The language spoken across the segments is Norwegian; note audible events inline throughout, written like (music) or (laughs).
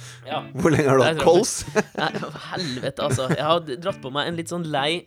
Hvor lenge har du Nei, hatt jeg tror- kols? Nei, helvete, altså. Jeg har dratt på meg en litt sånn lei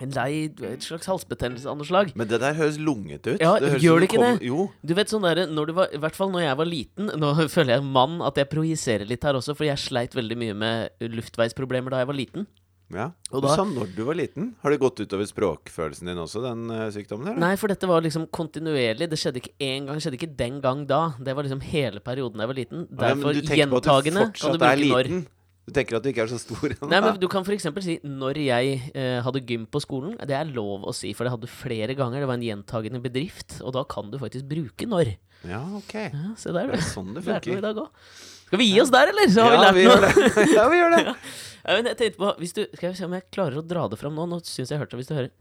En lei Et slags halsbetennelse av noe slag. (laughs) Men det der høres lungete ut. Ja, høres gjør som det ikke kom- det? Jo. Du vet sånn der, når du var, I hvert fall når jeg var liten (laughs) Nå føler jeg mann at jeg projiserer litt her også, for jeg sleit veldig mye med luftveisproblemer da jeg var liten. Ja. Og du da- sa når du var liten. Har det gått utover språkfølelsen din også, den eh, sykdommen? Eller? Nei, for dette var liksom kontinuerlig. Det skjedde ikke én gang, skjedde ikke den gang da. Det var liksom hele perioden da jeg var liten. Ja, men Derfor du tenker på at du gjentagende kan fortsatt du bruke er når. liten. Du tenker at du ikke er så stor ennå. Nei, men Du kan f.eks. si 'når jeg eh, hadde gym på skolen'. Det er lov å si, for det hadde du flere ganger. Det var en gjentagende bedrift, og da kan du faktisk bruke 'når'. Ja, (laughs) ok. Ja, se der, Det er du. sånn det Lærte noe i funker. dag òg. Skal vi gi oss der, eller? Så har Ja, vi lært vi gjør noe. det. Ja, vi gjør det. (laughs) Ja, men jeg tenkte på, hvis du, Skal vi se om jeg klarer å dra det fram nå. Nå syns jeg hørte det, hvis du hører.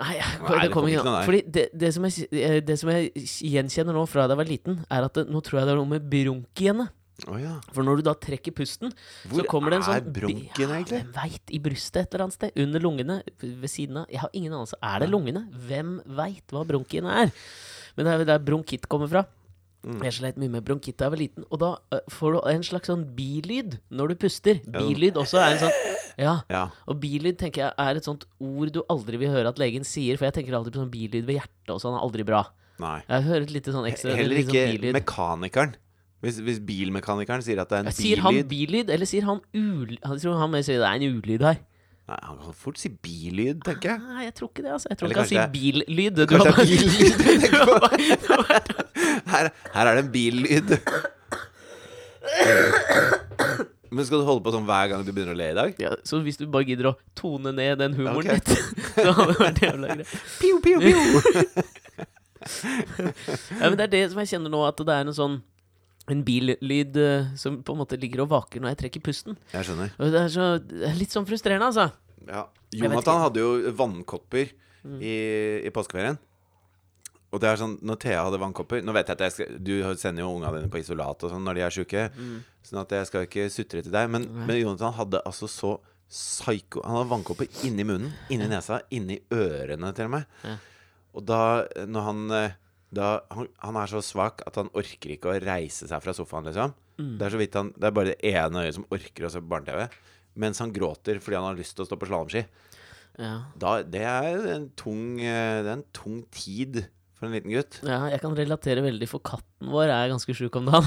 Nei, jeg, Nei, det kommer ikke noe, noe. nei. Fordi det, det, som jeg, sy- eh, det som jeg gjenkjenner nå fra da jeg var liten, er at det, nå tror jeg det er noe med bronkiene. Å ja. For når du da trekker pusten, Hvor så kommer det en sånn er bi- bronken, egentlig? Ja, hvem veit? I brystet et eller annet sted? Under lungene? Ved siden av? Jeg har ingen anelse. Er det lungene? Hvem veit hva bronkien er? Men det er vel der bronkitt kommer fra. Mm. Jeg sleit mye med bronkitt da jeg var liten. Og da eh, får du en slags sånn bilyd når du puster. sånn- Bilyd også er en sånn Ja. Ja. Og bilyd tenker jeg er et sånt ord du aldri vil høre at legen sier, for jeg tenker alltid på sånn bilyd ved hjertet og sånn er aldri bra. Nei. Jeg hører et lite sånn ekstra Heller litt sånn ikke mekanikeren. Hvis, hvis bilmekanikeren sier at det er en Ja, Sier han billyd bilyd, eller sier han ulyd? Jeg tror han mer sier det er en ulyd her. Nei, han kan fort si billyd, tenker jeg. Nei, jeg tror ikke det. altså Jeg tror Eller ikke han sier kanskje billyd. Du Kanskje har det er (laughs) billyd du bare- tenker du har på? bare- du har bare- Her, her er det en billyd. Men skal du holde på sånn hver gang du begynner å le i dag? Ja, Så hvis du bare gidder å tone ned den humoren Ok. litt, (laughs) så hadde det vært jævla greit. Piu, piu, piu. (laughs) Ja, men det er det som jeg kjenner nå, at det er en sånn en billyd eh, som på en måte ligger og vaker når jeg trekker pusten. Jeg skjønner. Og det er så det er litt sånn frustrerende, altså. Ja. vet Jonathan ikke. Mm. hadde jo vannkopper i, i påskeferien. Og det er sånn, når Thea hadde vannkopper Nå vet jeg at jeg skal, Du sender jo unga dine på isolat og sånn når de er sjuke, Mm. sånn at jeg skal ikke sutre til deg. Men, men Jonathan hadde altså så psyko Han hadde vannkopper inni munnen, inni nesa, inni ørene til og med. Ja. Og da, når han eh, da, han, han er så svak at han orker ikke å reise seg fra sofaen, liksom. Mm. Det er så vidt han Det er bare det ene øyet som orker å se på barne-TV. Mens han gråter fordi han har lyst til å stå på slalåmski. Ja. Da- Det er en tung eh, Det er en tung tid for en liten (laughs) gutt. ja, jeg kan relatere veldig, for katten vår er ganske sjuk om dagen.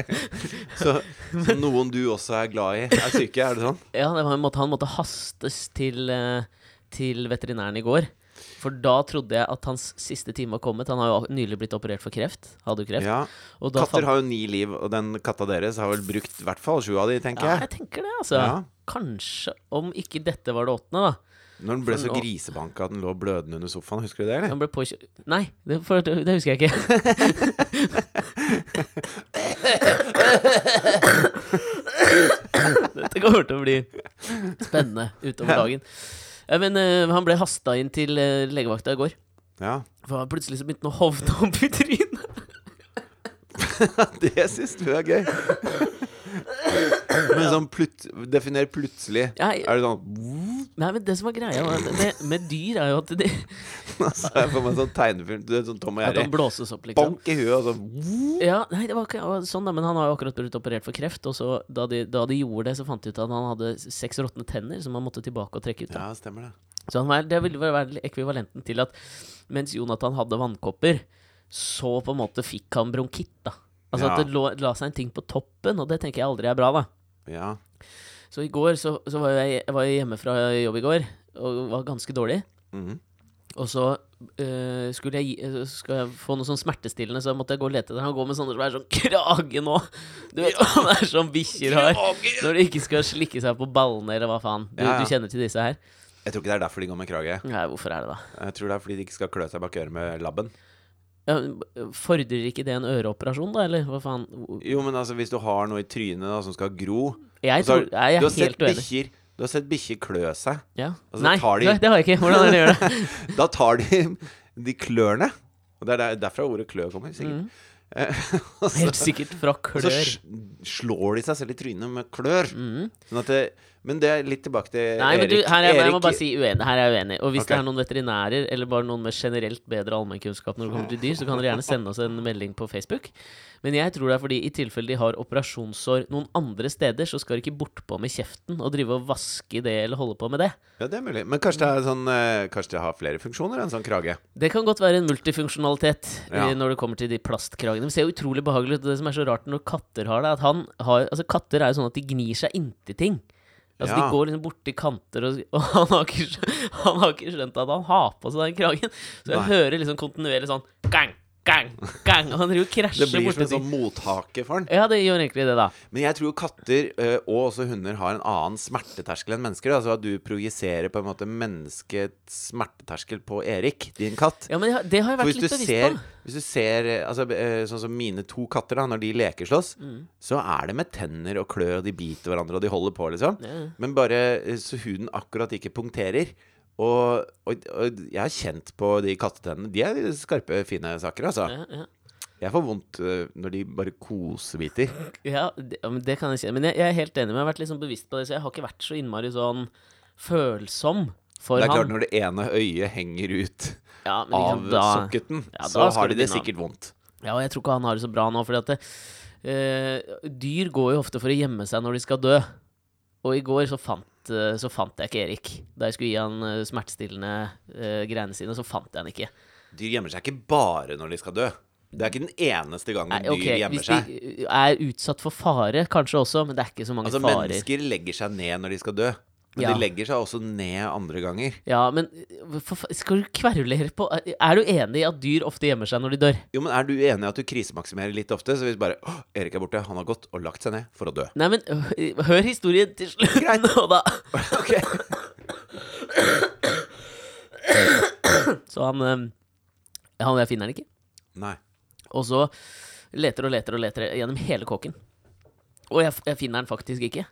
(laughs) Så, så noen du også er glad i, er syke, er det sånn? Ja, det var en måte, han måtte hastes til, eh, til veterinæren i går. For da trodde jeg at hans siste time var kommet. Han har jo nylig blitt operert for kreft. Hadde jo kreft. Ja. Og da Katter har jo ni liv, og den katta deres har vel brukt i hvert fall sju av de, tenker ja, jeg. jeg tenker det, altså. Ja. Kanskje, om ikke dette var det åttende, da. Når den ble så nå- grisebanka at den lå blødende under sofaen, husker du det, eller? Han ble påkjø... Nei, det, for, det husker jeg ikke. (laughs) dette kommer til å bli spennende utover dagen. Ja, men eh, han ble hasta inn til eh, legevakta i går. Ja. For han plutselig så begynte han å hovne opp i trynet. (laughs) Det syns du er gøy. Men sånn plut Definer plutselig. Ja, jeg- Er det sånn (laughs) Nei, men det som er greia da, med, med dyr, er jo at de Så er jeg for meg sånn tegnefilm. Du vet, sånn Tom og At han Jerry. blåses opp, liksom. Bank i huet, og sånn (laughs) Ja, nei, det var ikke det var sånn, da, men han har jo akkurat blitt operert for kreft. Og så da de, da de gjorde det, så fant de ut at han hadde seks råtne tenner som han måtte tilbake og trekke ut. Da. Ja, stemmer det. Så han var, det ville vel være ekvivalenten til at mens Jonathan hadde vannkopper, så på en måte fikk han bronkitt, da. Altså Ja. at det lå, la seg en ting på toppen, og det tenker jeg aldri er bra, da. Ja. Så i går så, så var jeg, jeg var hjemme fra jobb i går, og var ganske dårlig. Mhm. Og så eh, skulle jeg, gi- eh, skal jeg få noe sånn smertestillende, så måtte jeg gå og lete etter. Han går med sånne som er sånn krage nå. Du vet, han er sånn bikkjer har. Når de ikke skal slikke seg på ballene, eller hva faen. Du, Ja, ja. du kjenner til disse her? Jeg tror ikke det er derfor de går med krage. Nei, hvorfor er det da? Jeg tror det er fordi de ikke skal klø seg bak øret med labben. Ja, fordrer ikke det en øreoperasjon, da, eller hva faen? Jo, men altså, hvis du har noe i trynet da, som skal gro Jeg, og så har- tror, nei, jeg er Altså, Du har sett helt uenig. bikkjer Du har sett bikkjer klø seg. Ja. Altså, Nei, tar de- nei, det har jeg ikke. Hvordan er det de gjør det? (laughs) Da tar de (laughs) de klørne. Og det er der- derfra ordet klø kommer. Mm. sikkert Eh, (laughs) og så- Helt sikkert fra Og så klør. Mm. sj- slår de seg selv i trynet med klør. Sånn at det, Men det er litt tilbake til Nei, men du, Erik. her er, jeg må Erik- bare si uenig. Her er jeg uenig. Og hvis det Ok. er noen veterinærer, eller bare noen med generelt bedre allmennkunnskap når det kommer til dyr, så kan dere gjerne sende oss en melding på Facebook. Men jeg tror det er fordi i tilfelle de har operasjonssår noen andre steder, så skal de ikke bortpå med kjeften og drive og vaske det eller holde på med det. Ja, det er mulig. Men kanskje det, er sånn, eh, kanskje det har flere funksjoner enn sånn krage. Det kan godt være en multifunksjonalitet Ja. eh, når det kommer til de plastkragene. Det ser jo utrolig behagelig ut. og Det som er så rart når katter har det, at han har Altså, katter er jo sånn at de gnir seg inntil ting. Altså, Ja. De går liksom borti kanter, og, og han, har ikke, skjø- (laughs) han har ikke skjønt at han har på seg den kragen. Så jeg Nei. hører liksom kontinuerlig sånn gang, gang, gang. Og han driver og Det krasjer blir som borti en sånn ting. mothake for den. Ja, det gjør egentlig det, da. Men jeg tror jo katter, eh, og også hunder, har en annen smerteterskel enn mennesker. da. Altså at du projiserer på en måte menneskets smerteterskel på Erik, din katt. Ja, men jeg har- Det har jeg For vært hvis du litt bevisst ser, på. hvis du ser eh, altså, eh, sånn som mine to katter, da, når de lekeslåss, Mm. så er det med tenner og klør, og de biter hverandre, og de holder på, liksom. Ja. Men bare eh, så huden akkurat ikke punkterer. Og, og, og jeg har kjent på de kattetennene. De er skarpe, fine saker, altså. Ja, ja. Jeg får vondt eh, når de bare kosebiter. Ja, det, ja, men det kan jeg si. Men jeg, jeg er helt enig med Jeg har vært liksom bevisst på det, så jeg har ikke vært så innmari sånn følsom for Det er han. klart, når det ene øyet henger ut ja, men av liksom, da, sokketen, Ja, da så skal har du de det begynne. sikkert vondt. Ja, og jeg tror ikke han har det så bra nå, fordi at det, eh, dyr går jo ofte for å gjemme seg når de skal dø. Og i går så fant, eh, så fant jeg ikke Erik. Da jeg skulle gi han eh, smertestillende eh, greiene sine, så fant jeg han ikke. Dyr gjemmer seg ikke bare når de skal dø. Det er ikke den eneste gangen Nei, ok, dyr gjemmer Hvis de seg. eh, er utsatt for fare, kanskje også, men det er ikke så mange Altså, farer. mennesker legger seg ned når de skal dø. Men Ja. de legger seg også ned andre ganger. Ja, men eh, for, fa- skal du kverulere på Er du enig i at dyr ofte gjemmer seg når de dør? Jo, men Er du enig i at du krisemaksimerer litt ofte? Så hvis bare Åh, Erik er borte, han har gått og lagt seg ned for å dø. (laughs) Nei, men hø- hør historien til slutt nå, da. Ok Så han eh, Han og jeg finner han ikke. Nei. Og så leter og leter og leter gjennom hele kåken. Og jeg, jeg finner den faktisk ikke.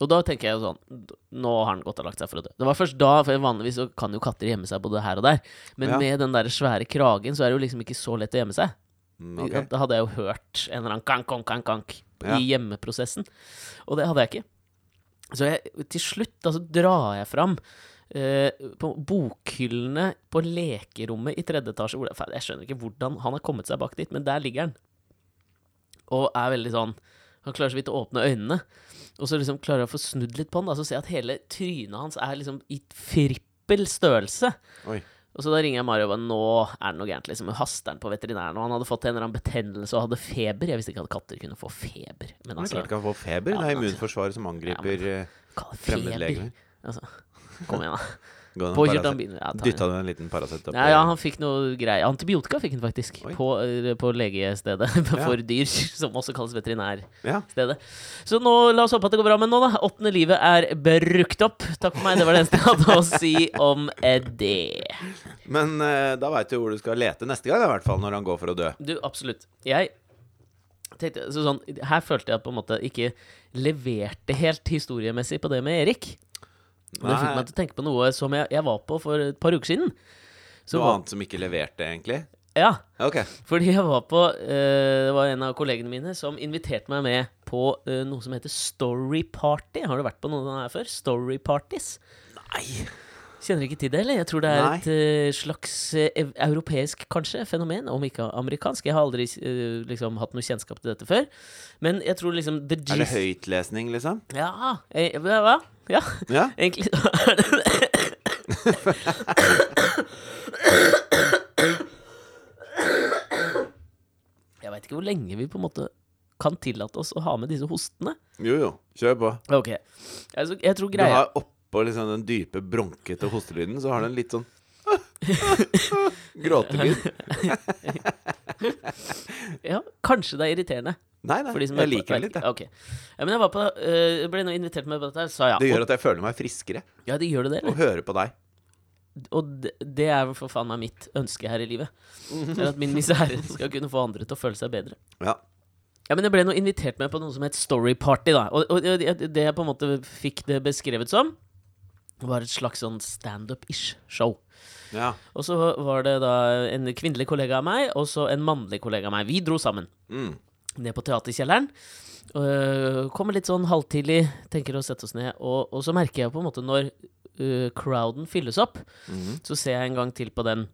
Og da tenker jeg jo sånn Nå har han gått og lagt seg for å dø. Det var først da, for vanligvis så kan jo katter gjemme seg både her og der. Men Ja. med den der svære kragen så er det jo liksom ikke så lett å gjemme seg. Mm, ok. Da hadde jeg jo hørt en eller annen kank, kank, kank, kank Ja. i hjemmeprosessen. Og det hadde jeg ikke. Så jeg, til slutt altså, drar jeg fram eh, på bokhyllene på lekerommet i tredje etasje. Hvor det, faen, jeg skjønner ikke hvordan han har kommet seg bak dit, men der ligger han. Og er veldig sånn Han klarer så vidt å åpne øynene. Og så liksom klarer jeg å få snudd litt på han, da, så ser jeg at hele trynet hans er liksom i frippel størrelse. Oi. Og så da ringer jeg Mario og bare Nå er det noe gærent, liksom. Hun haster den på veterinæren. Og han hadde fått en eller annen betennelse og hadde feber. Jeg visste ikke at katter kunne få feber. Men Men det er altså, klart ikke han får feber. Ja, Det er men altså- immunforsvaret som angriper eh, ja, kall det feber. fremmedlegemer. Altså, kom (laughs) igjen, da. Gå ned en Påkjørt Paracet. han begynner. Ja, ta den. Dytta du en liten Paracet opp ja, ja, han fikk noe greier. Antibiotika fikk han faktisk. Oi. På, eh, på legestedet (laughs) for dyr, som også kalles veterinærstedet. Ja. Så nå, la oss håpe at det går bra med nå, da. Åttende livet er brukt opp. Takk for meg, det var det eneste jeg hadde å si om eh, det. Men eh, da veit du hvor du skal lete neste gang, i hvert fall når han går for å dø. Du, absolutt. Jeg tenkte så sånn, Her følte jeg på en måte ikke leverte helt historiemessig på det med Erik. Men det fikk meg til å tenke på noe som jeg, jeg var på for et par uker siden. Så Noe var- annet som ikke leverte, egentlig? Ja, Ja, Ok. fordi jeg var på eh, Det var en av kollegene mine som inviterte meg med på eh, noe som heter Story Party. Har du vært på noe av det her før? Story Parties. Nei. Kjenner ikke til det, eller? Jeg tror det er Nei. et eh, slags eh, ev- europeisk, kanskje, fenomen, om ikke amerikansk. Jeg har aldri eh, liksom hatt noe kjennskap til dette før. Men jeg tror liksom the Er det gist- høytlesning, liksom? Ja, eh, hva? hva? Ja, (laughs) Ja? egentlig så er det det. Jeg veit ikke hvor lenge vi på en måte kan tillate oss å ha med disse hostene. Jo, jo. Kjør på. Ok, altså, Jeg tror Du greia har oppå liksom den dype, bronkete hostelyden, så har du en litt sånn (laughs) Gråtelyd. ja, Kanskje det er irriterende. Nei, nei. For de som Jeg hører på- liker det litt, jeg. Ok. Ja, men jeg var på, eh, ble nå invitert med på dette, her, sa ja. Det gjør at jeg føler meg friskere og, ja, det gjør det, det, å eller? høre på deg. Og det, det er vel for faen meg mitt ønske her i livet. (laughs) Er at min misere skal kunne få andre til å føle seg bedre. Ja. Ja, men jeg ble nå invitert med på noe som het Story Party, da. Og, og det det jeg på en måte fikk det beskrevet som, var et slags sånn standup-ish show. ja. Og så var det da en kvinnelig kollega av meg, og så en mannlig kollega av meg. Vi dro sammen. Mm. ned på teaterkjelleren. Øh, kommer litt sånn halvtidlig, tenker å sette oss ned. Og, og så merker jeg på en måte når øh, crowden fylles opp, Mhm. så ser jeg en gang til på den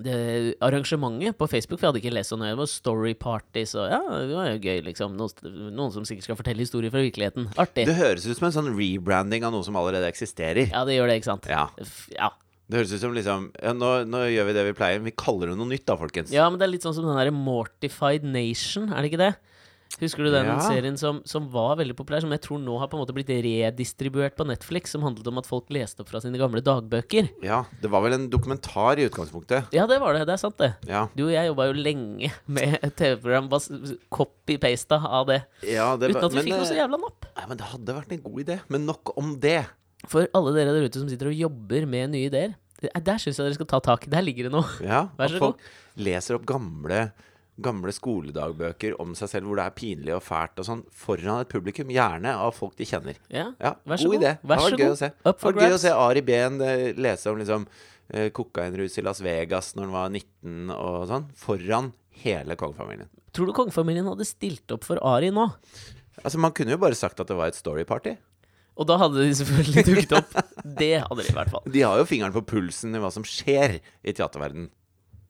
det arrangementet på Facebook, for jeg hadde ikke lest så nøye. Det var story parties og ja, det var jo gøy, liksom. Noen, noen som sikkert skal fortelle historier fra virkeligheten. Artig. Det høres ut som en sånn rebranding av noe som allerede eksisterer. Ja, det gjør det, ikke sant? Ja. F- Ja. Det høres ut som liksom ja, nå, nå gjør vi det vi pleier. Vi kaller det noe nytt, da, folkens. ja, men det er litt sånn som den derre Mortified Nation, er det ikke det? Husker du den Ja. serien som, som var veldig populær, som jeg tror nå har på en måte blitt redistribuert på Netflix, som handlet om at folk leste opp fra sine gamle dagbøker? Ja, Det var vel en dokumentar i utgangspunktet. Ja, det var det. Det er sant, det. Ja, Du og jeg jobba jo lenge med et TV-program bas- copy-pasta av det. ja det Uten var- at vi men, fikk noe så eh, jævla napp. Nei, men det hadde vært en god idé. Men nok om det. For alle dere der ute som sitter og jobber med nye ideer, det- eh, der syns jeg dere skal ta tak. Der ligger det noe. (laughs) Ja, Vær så at folk leser opp gamle, gamle skoledagbøker om seg selv hvor det er pinlig og fælt og sånn, foran et publikum, gjerne av folk de kjenner. Ja, Ja, Vær så god, god. idé. Vær det så var gøy god. å se. Up Det for var gøy å grabs. se Ari Behn eh, lese om liksom eh, kokainrus i Las Vegas når han var 19 og sånn, foran hele kongefamilien. Tror du kongefamilien hadde stilt opp for Ari nå? Altså, man kunne jo bare sagt at det var et storyparty. Og da hadde de selvfølgelig dukket opp. (laughs) Det hadde de i hvert fall. De har jo fingeren på pulsen i hva som skjer i teaterverden.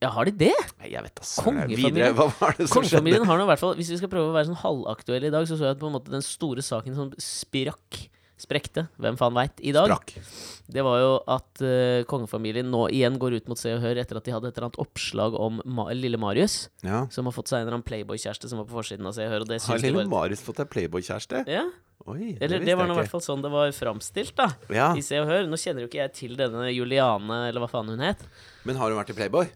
Ja, har de det? Nei, jeg vet da søren. jeg. Kongefamilien. Videre, hva var det som skjedde? Kongefamilien har nå i hvert fall Hvis vi skal prøve å være sånn halvaktuelle i dag, så så jeg at på en måte den store saken som sprakk Sprekte, hvem faen veit, i dag. Brakk. Det var jo at eh, kongefamilien nå igjen går ut mot Se og Hør etter at de hadde et eller annet oppslag om Ma lille Marius, Ja. som har fått seg en eller annen Playboy-kjæreste som var på forsiden av Se og Hør, og det Har syns de lille var Marius fått deg Playboy-kjæreste? ja, Oi, det eller visste det var jeg nå i ikke. hvert fall sånn det var framstilt, da. Ja, I Se og Hør. Nå kjenner jo ikke jeg til denne Juliane, eller hva faen hun het. Men har hun vært i Playboy?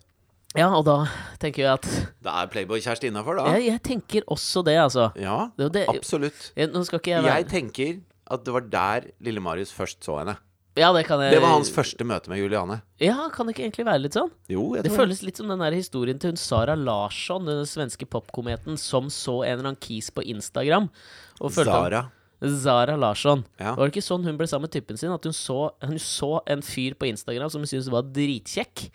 Ja, og da tenker jeg at Da er Playboy-kjæreste innafor, da. Jeg, jeg tenker også det, altså. Ja, Det, det, absolutt. jeg, nå skal ikke jeg være Jeg tenker at det var der lille Marius først så henne. Ja, det kan jeg Det var hans første møte med Juliane. Ja, kan det ikke egentlig være litt sånn? Jo, jeg Det tror det. føles litt som den der historien til hun Sara Larsson, den svenske popkometen som så en eller annen kis på Instagram. Og følte Zara. Zara Larsson. Ja. Var det ikke sånn hun ble sammen med typen sin? At hun så, hun så en fyr på Instagram som hun syntes var dritkjekk.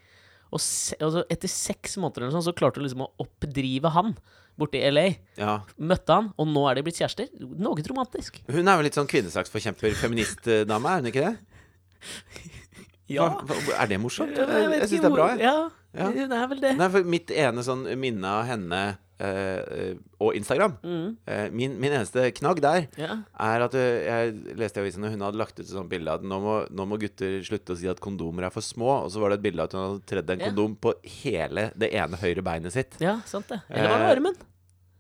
Og, se, og så etter seks måneder eller sånn, så klarte hun liksom å oppdrive han borti LA. Ja. Møtte han, og nå er de blitt kjærester. Noe romantisk. Hun er vel litt sånn kvinnesaksforkjemper, feministdame, er hun ikke det? Hva- hva- Er det morsomt? Jeg, vet Jeg ikke syns det er bra, hvor- jeg. Ja, Ja. hun er vel det. Nei, for mitt ene sånn minne av henne eh, eh, og Instagram Mm. eh, min, min eneste knagg der Ja. er at ø, jeg leste i avisen og hun hadde lagt ut et sånt bilde at nå må, nå må gutter slutte å si at kondomer er for små. Og så var det et bilde av at hun hadde tredd en Ja. kondom på hele det ene høyre beinet sitt. ja, sant det. Eller var det Eh, armen?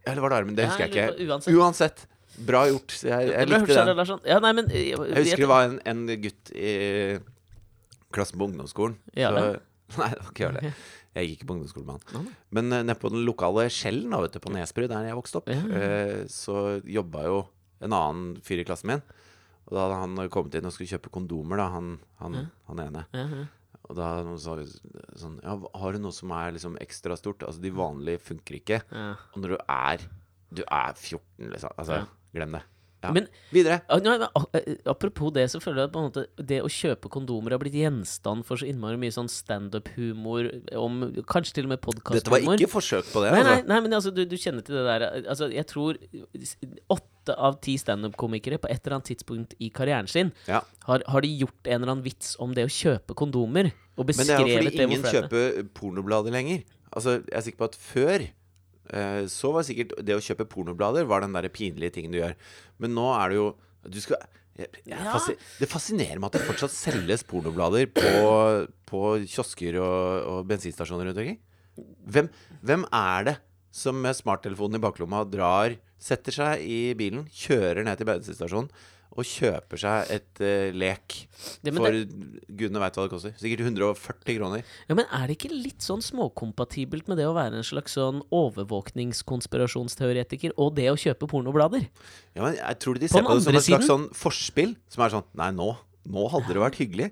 Eller var det armen? Det Ja, husker jeg jeg lurer ikke. på- uansett. Uansett. Bra gjort. Så jeg, jeg Det ble hørt likte Sara den. Larsson. sånn. Ja, nei, men Jeg, Jeg husker det var en, en gutt i klassen på ungdomsskolen. Ja, så, nei, det var ikke jeg heller. Jeg gikk ikke på ungdomsskolen med Nei, han. nei. Men uh, nede på den lokale Skjellen, da, vet du, på Nesbru, der jeg vokste opp, Ja. eh, så jobba jo en annen fyr i klassen min. Og da hadde han kommet inn og skulle kjøpe kondomer, da, han, han, han ene. (laughs) Ja, ja. Og da hadde han sagt sånn Ja, har du noe som er liksom ekstra stort? Altså, de vanlige funker ikke. Ja. Og når du er Du er 14, liksom. Altså, Ja. glem det. Ja. Men- Videre. Ja, nei, men a- eh, Apropos det, så føler jeg at på en måte det å kjøpe kondomer har blitt gjenstand for så innmari mye sånn standup-humor, om kanskje til og med Dette var podkast-humor. ikke forsøk på det. Nei, altså. nei, nei, men altså, du, du kjenner til det der eh, altså, Jeg tror s- åtte av ti standup-komikere på et eller annet tidspunkt i karrieren sin Ja. har, har de gjort en eller annen vits om det å kjøpe kondomer, og Men det er jo beskrevet det fordi hvor ingen flaut det er. kjøper pornoblader lenger. Altså, jeg er sikker på at før eh, så var sikkert det å kjøpe pornoblader Var den der pinlige tingen du gjør. Men nå er det jo Du skal jeg, jeg, Ja. fasi- Det fascinerer meg at det fortsatt selges pornoblader på, på kiosker og, og bensinstasjoner rundt omkring. Hvem, hvem er det som med smarttelefonen i baklomma drar, setter seg i bilen, kjører ned til bensinstasjonen og kjøper seg et eh, lek Ja, men for gudene veit hva det koster. Sikkert 140 kroner. Ja, men er det ikke litt sånn småkompatibelt med det å være en slags sånn overvåkningskonspirasjonsteoretiker og det å kjøpe pornoblader? Ja, men jeg tror de På ser den på, det som andre et slags siden- sånn forspill, som er sånn Nei, nå, nå hadde det vært hyggelig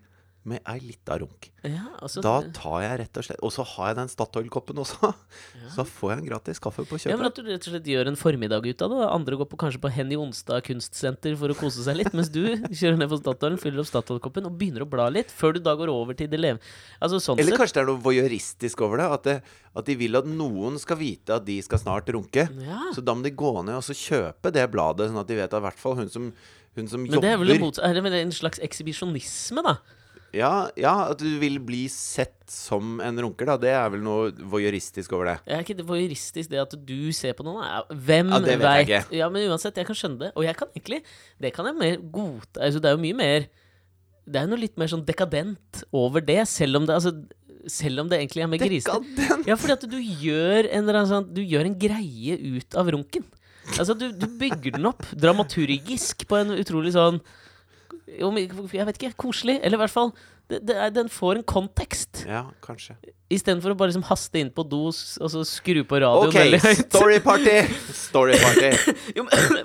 med ei lita runk. Ja, altså, Da tar jeg rett og slett Og så har jeg den Statoil-koppen også. Så da får jeg en gratis kaffe på ja, men kjøpet. at du rett og slett gjør en formiddag ut av det. da. Andre går på, kanskje på Henny Onsdag kunstsenter for å kose seg litt, mens du kjører ned på Statoilen, fyller opp Statoil-koppen og begynner å bla litt, før du da går over til det leve... Altså sånn Eller sett. kanskje det er noe voyeuristisk over det at, det. at de vil at noen skal vite at de skal snart runke. Ja. Så da må de gå ned og så kjøpe det bladet, sånn at de vet at i hvert fall hun som, hun som Men det er vel en, jobber motsa- eller, men det er en slags ekshibisjonisme, da. ja, ja, at du vil bli sett som en runker, da. Det er vel noe voyeuristisk over det. Er ikke det voyeuristisk, det at du ser på noen? Er- Hvem Ja, ja, det vet jeg veit? ikke. Ja, men uansett, jeg kan skjønne det. Og jeg kan egentlig Det kan jeg mer godta altså, Det er jo mye mer Det er jo noe litt mer sånn dekadent over det, selv om det, altså, selv om det egentlig er med grisete. Dekadent! Ja, fordi at du gjør en eller annen sånn Du gjør en greie ut av runken. Altså, du, du bygger den opp dramaturgisk på en utrolig sånn om ikke- Jeg vet ikke. Koselig. Eller i hvert fall det, det er, Den får en kontekst. Ja, kanskje. Istedenfor å bare liksom haste inn på do s- og så skru på radioen OK, veldig høyt. story party! Story party. (laughs) Jo, men,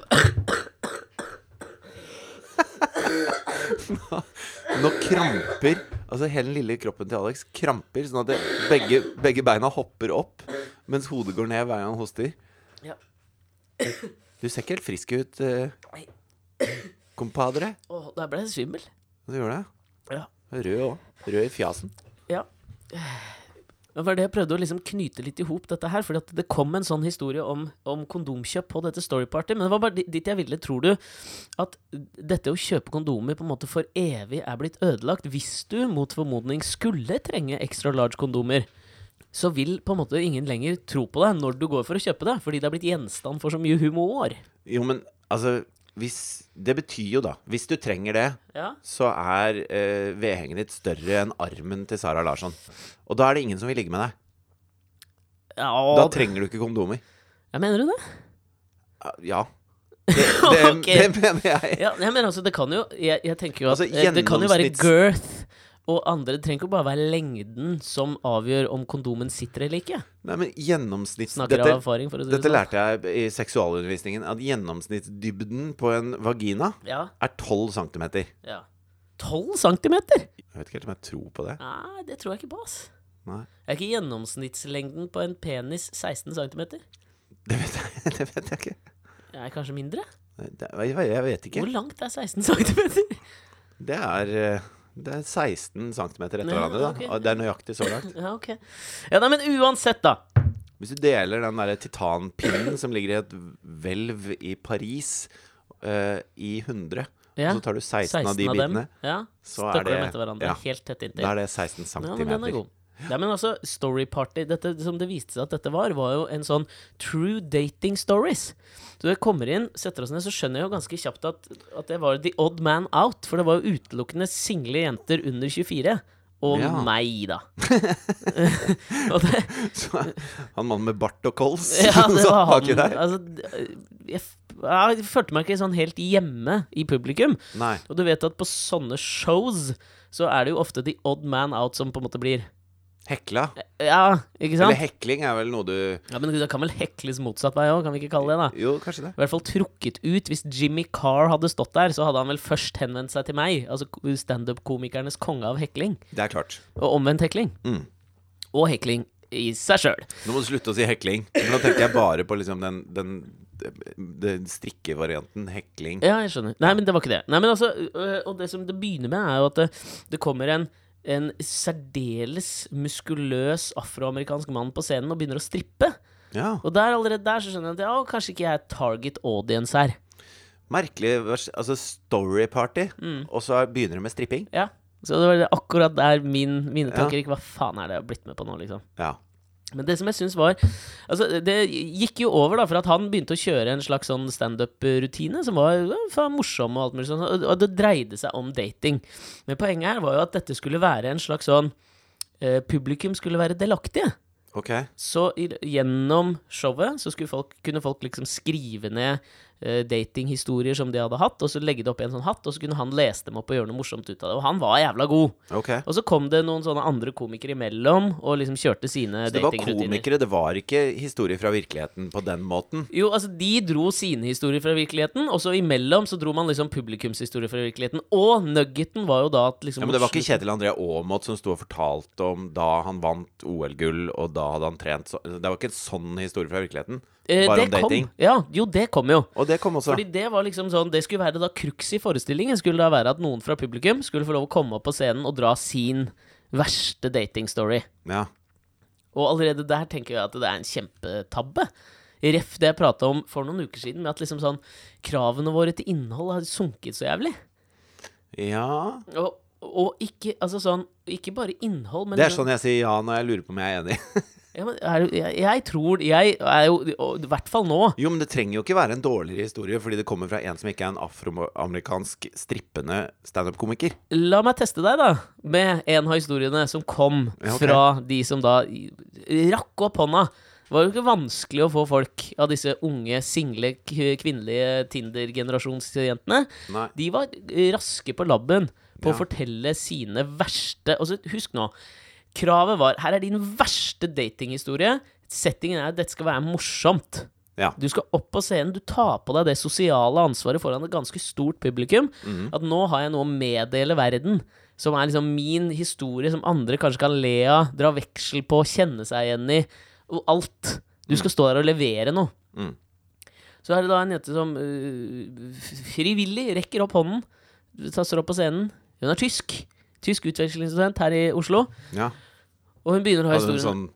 Nå kramper Altså hele den lille kroppen til Alex kramper, sånn at det, begge, begge beina hopper opp mens hodet går ned hver gang han hoster. ja. Du ser ikke helt frisk ut, eh, compadre. Åh, der ble jeg svimmel. Du gjør det. Ja. Rød òg. Rød i fjasen. ja. Det var det jeg prøvde å liksom knyte litt i hop, dette her. For det kom en sånn historie om, om kondomkjøp på dette Storyparty. Men det var bare di- dit jeg ville. Tror du at dette å kjøpe kondomer på en måte for evig er blitt ødelagt? Hvis du mot formodning skulle trenge extra large kondomer, så vil på en måte ingen lenger tro på deg når du går for å kjøpe det. Fordi det er blitt gjenstand for så mye humor. Jo, men altså hvis, Det betyr jo da Hvis du trenger det, Ja. så er eh, vedhenget ditt større enn armen til Sara Larsson. Og da er det ingen som vil ligge med deg. Da Ja, trenger du ikke kondomer. ja, mener du det? (laughs) Ja. Det, det, Ok. det mener jeg. Ja, jeg mener altså, det kan jo Jeg, jeg tenker jo at Altså, eh, det kan jo være gjennomsnitts- girth og andre. Det trenger ikke bare være lengden som avgjør om kondomen sitter eller ikke. Nei, men gjennomsnitts... Snakker av Dette, erfaring, for å si dette det sånn. lærte jeg i seksualundervisningen. At gjennomsnittsdybden på en vagina Ja, er 12 cm. Jeg ja. 12 centimeter? vet ikke helt om jeg tror på det. Nei, det tror jeg ikke på, ass. Nei. Er ikke gjennomsnittslengden på en penis 16 cm? Det vet jeg, (laughs) det vet jeg ikke. Er kanskje mindre? Det, jeg, vet- jeg vet ikke. Hvor langt er 16 cm? Det er, eh, det er 16 cm etter Ja, hverandre. ok. Da. Og Det er nøyaktig så langt. (laughs) Ja, ok. Ja, nei, men uansett, da. Hvis du deler den der titanpinnen som ligger i et hvelv i Paris, eh, i 100, Ja, og så tar du 16, av de bitene, Ja, så er Stakker dem det- etter hverandre, ja. helt tett inntil. da er det 16 Ja, men den er cm. god. Nei, men altså, Story Party dette, Som det viste seg at dette var, var jo en sånn true dating stories. Så jeg kommer inn, setter oss ned, så skjønner jeg jo ganske kjapt at, at det var the odd man out. For det var jo utelukkende single jenter under 24. Og Ja. meg, (laughs) da. og det, (laughs) Så han mannen med bart og kols ja, det (laughs) som var baki han. der. Altså, jeg, f- jeg følte meg ikke sånn helt hjemme i publikum. Nei. Og du vet at på sånne shows så er det jo ofte the odd man out som på en måte blir Hekla. Ja, ikke sant? Eller hekling er vel noe du Ja, men Det kan vel hekles motsatt vei òg, kan vi ikke kalle det? da Jo, kanskje det. I hvert fall trukket ut. Hvis Jimmy Carr hadde stått der, så hadde han vel først henvendt seg til meg. Altså standup-komikernes konge av hekling. Det er klart. Og omvendt hekling. Mm. Og hekling i seg sjøl. Nå må du slutte å si hekling. Nå tenker jeg bare på liksom den, den, den strikkevarianten hekling. Ja, jeg skjønner. Nei, men det var ikke det. Nei, men altså, øh, Og det som det begynner med, er jo at det, det kommer en en særdeles muskuløs afroamerikansk mann på scenen og begynner å strippe. Ja. Og der allerede der så skjønner jeg at ja, kanskje ikke jeg er target audience her. Merkelig vers- altså story party, Mm. og så begynner du med stripping. Ja, så det var akkurat der min, mine tanker gikk. Hva faen er det jeg har blitt med på nå, liksom? Ja. Men det som jeg syns var Altså, det gikk jo over, da, for at han begynte å kjøre en slags sånn standup-rutine som var ja, faen morsom og alt mulig sånn, og og det dreide seg om dating. Men poenget her var jo at dette skulle være en slags sånn eh, Publikum skulle være delaktige. Ok. Så i, gjennom showet så skulle folk, kunne folk liksom skrive ned eh, datinghistorier som de hadde hatt, og så legge det opp i en sånn hatt, og så kunne han lese dem opp og gjøre noe morsomt ut av det. Og han var jævla god. Ok. Og så kom det noen sånne andre komikere imellom, og liksom kjørte sine Så det var datingrutiner. komikere, det var ikke historier fra virkeligheten på den måten. Jo, altså De dro sine historier fra virkeligheten, og så imellom så dro man liksom publikumshistorier fra virkeligheten. Og nuggeten var jo da at liksom Ja, men det var mot ikke Kjetil André Aamodt som sto og fortalte om da han vant OL-gull, og da hadde han trent så Det var ikke en sånn historie fra virkeligheten. Eh, Bare det om dating. Kom. Ja, jo, det kom jo. Og det kom også. Fordi det var liksom sånn Det skulle være da crux i forestillingen. Skulle da være at noen fra publikum skulle få lov å komme opp på scenen og dra sin verste datingstory. Ja. Og allerede der tenker jeg at det er en kjempetabbe. Ref det jeg prata om for noen uker siden, med at liksom sånn kravene våre til innhold har sunket så jævlig. ja Og, og ikke, altså sånn, ikke bare innhold, men liksom, Det er sånn jeg sier ja når jeg lurer på om jeg er enig. (laughs) ja, men er, du- jeg, jeg tror Jeg er jo og I hvert fall nå. Jo, men det trenger jo ikke være en dårligere historie fordi det kommer fra en som ikke er en afroamerikansk strippende standup-komiker. La meg teste deg, da, med en av historiene som kom Ja, ok. fra de som da i- rakk opp hånda. Det var jo ikke vanskelig å få folk av disse unge, single, k- kvinnelige Tinder-generasjonsjentene. Nei. De var raske på labben på å Ja. fortelle sine verste Og så husk nå. Kravet var her er din verste datinghistorie. Settingen er at dette skal være morsomt. Ja. Du skal opp på scenen, du tar på deg det sosiale ansvaret foran et ganske stort publikum. Mhm. At nå har jeg noe å meddele verden, som er liksom min historie, som andre kanskje kan le av, dra veksel på, kjenne seg igjen i, og alt. Du Mhm. skal stå der og levere noe. Mm. Så er det da en jente som øh, frivillig rekker opp hånden, tasser opp på scenen. Hun er tysk. Tysk utvekslingsstudent her i Oslo. Ja. Og hun begynner å ha Hadde hun historien. sånn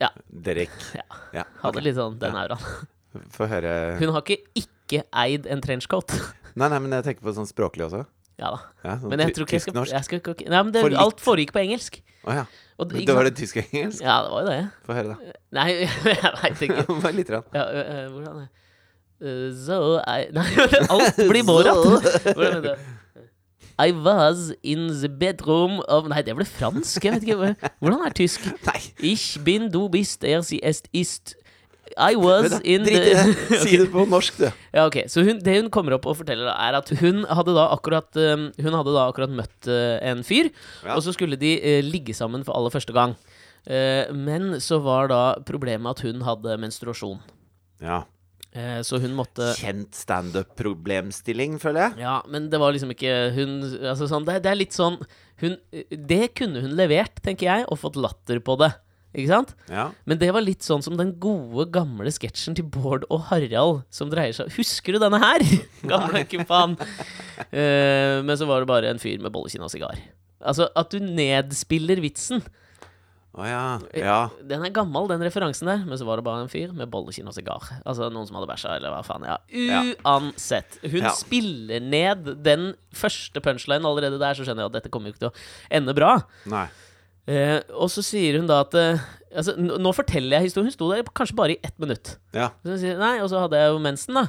Ja. Derek Ja. Ja, Hadde litt sånn den auraen. ok. Få høre Hun har ikke ikke eid en trenchcoat. (laughs) Nei, nei, men jeg tenker på sånn språklig også. Ja da. Ja, sånn Men jeg tror ikke jeg skal, Tysk-norsk. jeg skal ikke- Nei, men det, For litt. alt foregikk på engelsk. Å ja. Og, Men ikke Det var sant? det tysk-engelsk. Ja, det var jo det. Få høre, da. Nei, jeg veit ikke. (laughs) Bare litt. Rann. (laughs) Ja, ø- ø, hvordan er Uh, so I (laughs) Nei, alt blir (laughs) Borat! Hvordan er det? I was in the bedroom of Nei, det ble fransk. Jeg vet ikke. hva- Hvordan er tysk? Nei, Ich bin du bist er sie est ist. I was vet du, in drit i the det. Si det på norsk, du. (laughs) Ja, ok, så hun, Det hun kommer opp og forteller, da, er at hun hadde da akkurat, eh, hun hadde da akkurat møtt eh, en fyr. Ja. Og så skulle de eh, ligge sammen for aller første gang. Eh, men så var da problemet at hun hadde menstruasjon. Ja. Eh, så hun måtte Kjent standup-problemstilling, føler jeg. Ja, men det var liksom ikke Hun altså sånn, det, det er litt sånn hun, Det kunne hun levert, tenker jeg, og fått latter på det. Ikke sant? Ja. Men det var litt sånn som den gode, gamle sketsjen til Bård og Harald som dreier seg Husker du denne her? (laughs) Gamle kumpan. Eh, men så var det bare en fyr med bollekinn og sigar. Altså, at du nedspiller vitsen. Å ja. Eh. Ja. Den er gammel, den referansen der. Men så var det bare en fyr med bollekinn og sigar. Altså noen som hadde bæsja, eller hva faen. Ja. Ja. Uansett. Hun Ja. spiller ned den første punchlinen allerede der, så skjønner jeg at dette kommer jo ikke til å ende bra. Nei. Eh, og så sier hun da at eh, altså, n- Nå forteller jeg historien. Hun sto der kanskje bare i ett minutt. Ja. Så hun sier, nei, Og så hadde jeg jo mensen, da.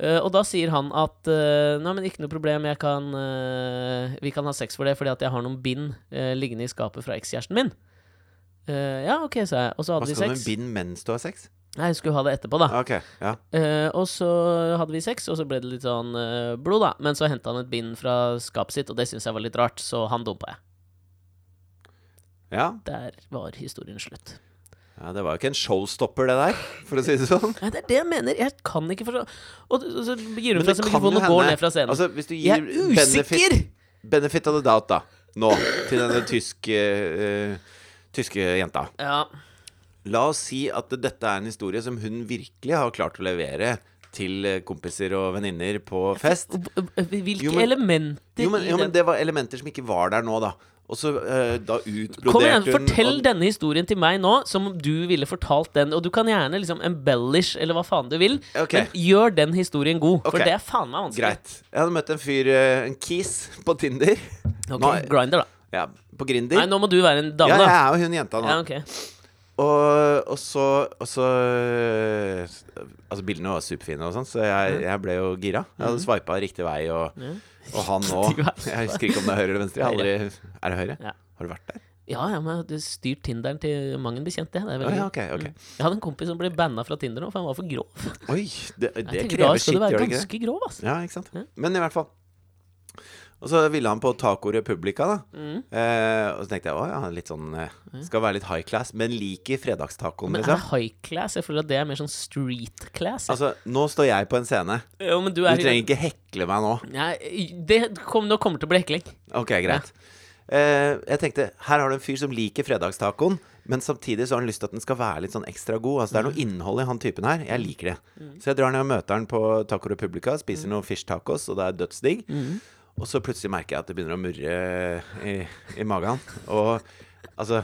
Eh, og da sier han at eh, Nei, men ikke noe problem, jeg kan eh, vi kan ha sex for det fordi at jeg har noen bind eh, liggende i skapet fra ekskjæresten min. Eh, ja, OK, sa jeg. Og så Hva hadde vi skal du med sex. bind mens du har (laughs) sex? Nei, hun skulle ha det etterpå, da. Ok, ja. Eh, og så hadde vi sex, og så ble det litt sånn eh, blod, da. Men så henta han et bind fra skapet sitt, og det syns jeg var litt rart, så han dumpa jeg. ja. Der var historien slutt. Ja, det var jo ikke en showstopper, det der, for å si det sånn. (laughs) Nei, det er det jeg mener. Jeg kan ikke forstå Og og så gir hun Men fra det seg kan jo mikrofonen og går hende- ned fra scenen. Altså, hvis du jeg gir er benefit, usikker! benefit of the doubt, da, nå, til denne tyske, eh, tyske jenta Ja. La oss si at dette er en historie som hun virkelig har klart å levere til eh, kompiser og venninner på fest. H- h- Hvilke Jo, men- elementer Jo men, i jo, men den det var elementer som ikke var der nå, da. Og så eh, da utbroderte hun Kom igjen, fortell og- denne historien til meg nå, som om du ville fortalt den. Og du kan gjerne liksom embellish eller hva faen du vil, Ok. men gjør den historien god. Ok. For det er faen meg vanskelig. Greit. Jeg hadde møtt en fyr, eh, en kis, på Tinder. Ok, Nå er- Grinder, da. Ja, på Nei, Grinder. nå må du være en Ja, dame, jeg da. er jo hun jenta nå. Ja, ok. Og, og så, og så Altså, bildene var superfine, og sånn, så jeg, jeg ble jo gira. Jeg hadde sveipa riktig vei, og, og han òg. Mhm. Riktig vei. (laughs) (laughs) Jeg husker ikke om det er høyre eller venstre. Jeg har aldri, er det høyre? Ja. Har du vært der? Ja, ja, men jeg hadde styrt Tinderen til mang en bekjent, det. det er Å veldig ja, gøy. ok. ok Jeg hadde en kompis som ble banna fra Tinder nå, for han var for grov. Oi, det, det Jeg tenker, da krever skal skitt, du være gjør det ikke det? ganske grov, altså. Ja, ikke sant? Ja. Men i hvert fall. Og så ville han på Taco Republica, da. Mm. Eh, og så tenkte jeg å ja, litt sånn eh, Skal være litt high class, men liker fredagstacoen, Men er det liksom. high class? Jeg føler at det er mer sånn street class. jeg. Altså, nå står jeg på en scene. jo, men du Du er trenger ikke hekle meg nå. Nei, det kom, nå kommer det til å bli hekling. Ok, greit. Eh, jeg tenkte, her har du en fyr som liker fredagstacoen, men samtidig så har han lyst til at den skal være litt sånn ekstra god. Altså, det er noe innhold i han typen her. Jeg liker det. Så jeg drar ned og møter han på Taco Republica, spiser noen fish tacos, og det er dødsdigg. Og så plutselig merker jeg at det begynner å murre i, i magen. Og altså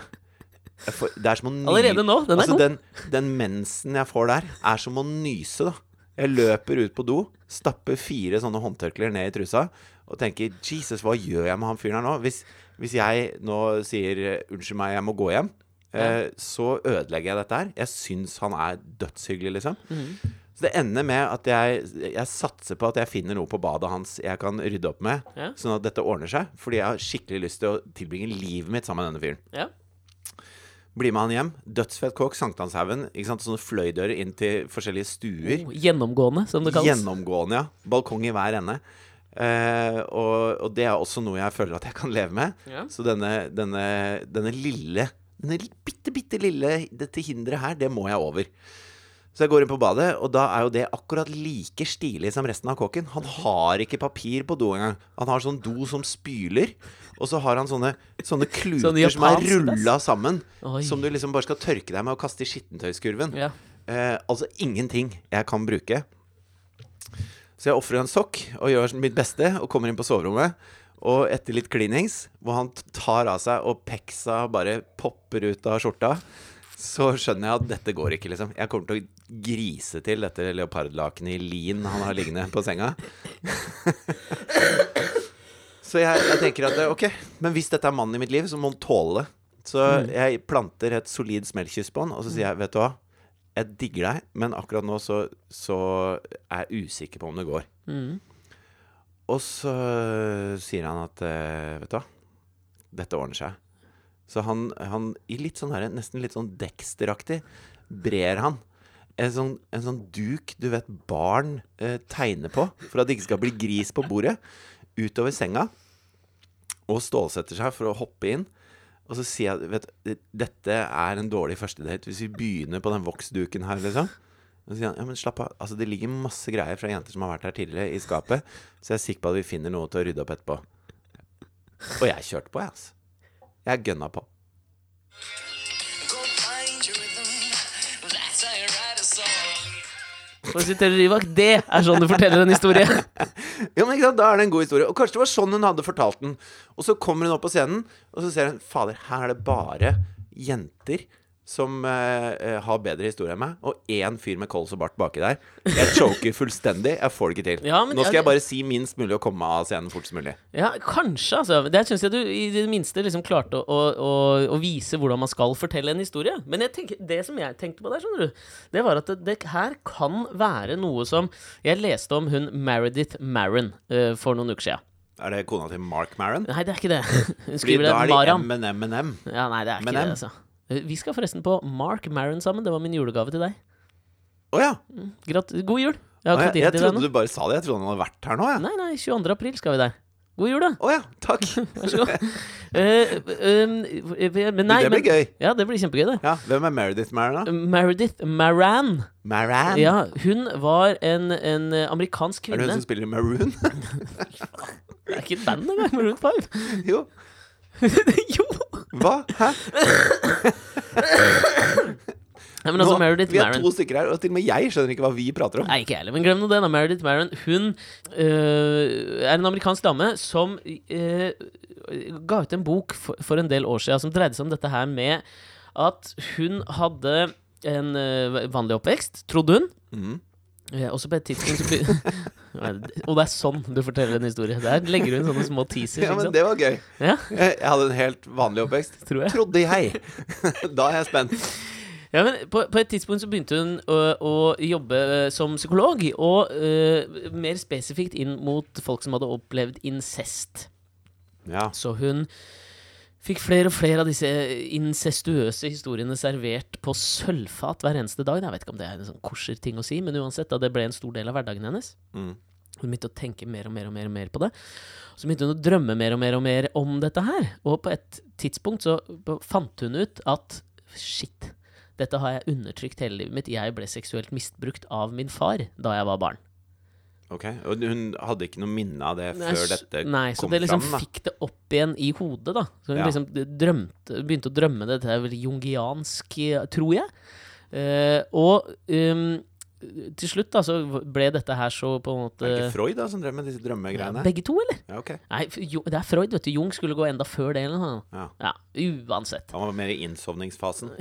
jeg får, Det er som å ny- Allerede nå? Den er altså, god. den, den mensen jeg får der, er som å nyse, da. Jeg løper ut på do, stapper fire sånne håndtørklær ned i trusa og tenker Jesus, hva gjør jeg med han fyren her nå? Hvis, hvis jeg nå sier unnskyld meg, jeg må gå hjem, eh, så ødelegger jeg dette her. Jeg syns han er dødshyggelig, liksom. Mhm. Så det ender med at jeg, jeg satser på at jeg finner noe på badet hans jeg kan rydde opp med, Ja. sånn at dette ordner seg. Fordi jeg har skikkelig lyst til å tilbringe livet mitt sammen med denne fyren. Ja. Bli med han hjem. Dødsfett kåk, Sankthanshaugen. ikke sant? Sånne fløydører inn til forskjellige stuer. Gjennomgående, som det kalles. Gjennomgående, ja. Balkong i hver ende. Eh, og, og det er også noe jeg føler at jeg kan leve med. Ja. Så denne, denne, denne lille Denne bitte, bitte lille Dette hinderet her, det må jeg over. Så jeg går inn på badet, og da er jo det akkurat like stilig som resten av kåken. Han har ikke papir på do engang. Han har sånn do som spyler, og så har han sånne, sånne kluter Sånn som er japansk, rulla sammen. Oi. Som du liksom bare skal tørke deg med og kaste i skittentøyskurven. Ja. Eh, altså ingenting jeg kan bruke. Så jeg ofrer en sokk og gjør mitt beste og kommer inn på soverommet. Og etter litt klinings, hvor han t- tar av seg og peksa bare popper ut av skjorta, så skjønner jeg at dette går ikke, liksom. Jeg kommer til å grise til dette leopardlakenet i lin han har liggende på senga. (laughs) så jeg, jeg tenker at eh, ok, men hvis dette er mannen i mitt liv, så må han tåle det. Så jeg planter et solid smellkyss på han, og så sier jeg, vet du hva jeg digger deg, men akkurat nå så, så er jeg usikker på om det går. Mm. Og så sier han at eh, Vet du hva, dette ordner seg. Så han, han i litt sånn her, nesten litt sånn Dexter-aktig, brer han en sånn, en sånn duk du vet barn eh, tegner på for at det ikke skal bli gris på bordet, utover senga. Og stålsetter seg for å hoppe inn. Og så sier jeg vet, du, Dette er en dårlig førstedate hvis vi begynner på den voksduken her, liksom. Og så sier han ja, men slapp av. Altså, det ligger masse greier fra jenter som har vært her tidligere, i skapet. Så jeg er sikker på at vi finner noe til å rydde opp etterpå. Og jeg kjørte på, jeg, altså. Jeg gønna på. Go find your rhythm. That's how you write a song. For å sitere Rybak, det er sånn du forteller en historie. Ja, men ikke sant, Da er det en god historie. Og kanskje det var sånn hun hadde fortalt den. Og så kommer hun opp på scenen, og så ser hun Fader, her er det bare jenter som eh, eh, har bedre historie enn meg. Og én fyr med kols og bart baki der. Jeg choker fullstendig. Jeg får det ikke til. Ja, men- Nå ja, skal jeg det- bare si minst mulig og komme meg av scenen fortest mulig. (laughs) Ja, kanskje, altså. Der syns jeg du i det minste liksom klarte å, å, å, å vise hvordan man skal fortelle en historie. Men jeg tenker, det som jeg tenkte på der, skjønner du, det var at det, det her kan være noe som Jeg leste om hun Meredith Maron eh, for noen uker siden. Er det kona til Mark Maron? Nei, det er ikke (laughs) det. Hun Fordi skriver da det er Maram. de MNM. Ja, nei, det er ikke Men det, M. altså. Eh, Vi skal forresten på Mark Maron sammen. Det var min julegave til deg. Å ja. Grat God jul. Jeg har Å, ikke fått jeg, gitt jeg til deg trodde ennå. du bare sa det. Jeg trodde han hadde vært her nå. jeg. Nei, nei, 22. april skal vi der. God jul, da. Å ja, takk. Vær så (laughs) god. Eh, um, eh, men nei, det blir men- gøy. Ja, det blir kjempegøy, det. Ja, Hvem er Meredith Maron, da? (laughs) Meredith Maran. Maran? Ja, hun var en, en amerikansk Er kvinne. det hun som spiller i Maroon? (laughs) Det er ikke et band engang, Maroon 5. jo. (laughs) jo! Hva? Hæ? Nei, men altså, Nå- Meredith vi er Maron to stykker her, og til og med jeg skjønner ikke hva vi prater om. Nei, ikke jeg heller, men glem nå det, da. Meredith Maron Hun øh, er en amerikansk dame som øh, ga ut en bok for, for en del år siden som dreide seg om dette her med at hun hadde en øh, vanlig oppvekst, trodde hun. Mhm. Ja, også på et tidspunkt så begyn- (laughs) Nei, det- Og det er sånn du forteller en historie. Der legger du inn sånne små teaser. Ja, ikke men sant? det var gøy. Ja, Jeg jeg hadde en helt vanlig oppvekst. tror jeg. Trodde jeg. (laughs) Da er jeg spent. Ja, men på, på et tidspunkt så begynte hun å, å jobbe eh, som psykolog, og eh, mer spesifikt inn mot folk som hadde opplevd incest. Ja. Så hun Fikk flere og flere av disse incestuøse historiene servert på sølvfat hver eneste dag. Jeg vet ikke om det er en sånn kosher-ting å si, men uansett, da det ble en stor del av hverdagen hennes. Mm. Hun begynte å tenke mer og mer og mer, og mer på det. Så begynte hun å drømme mer og mer og mer om dette her. Og på et tidspunkt så b- fant hun ut at shit, dette har jeg undertrykt hele livet mitt. Jeg ble seksuelt misbrukt av min far da jeg var barn. Ok, Og hun hadde ikke noe minne av det før Nei, s- dette nei, så kom det liksom fram? da fikk det opp igjen i hodet, da. Så hun Ja. liksom d- drømte, begynte å drømme det. Dette er vel jungiansk, eh, tror jeg. Eh, og um, til slutt da, så v- ble dette her så på en Er det ikke måte Freud da som drev med disse drømmegreiene? Begge to, eller? Ja, ok Nei, f- Jo- det er Freud, vet du. Jung skulle gå enda før det. eller noe sånt. ja. Ja, uansett. (laughs) Han var mer i innsovningsfasen.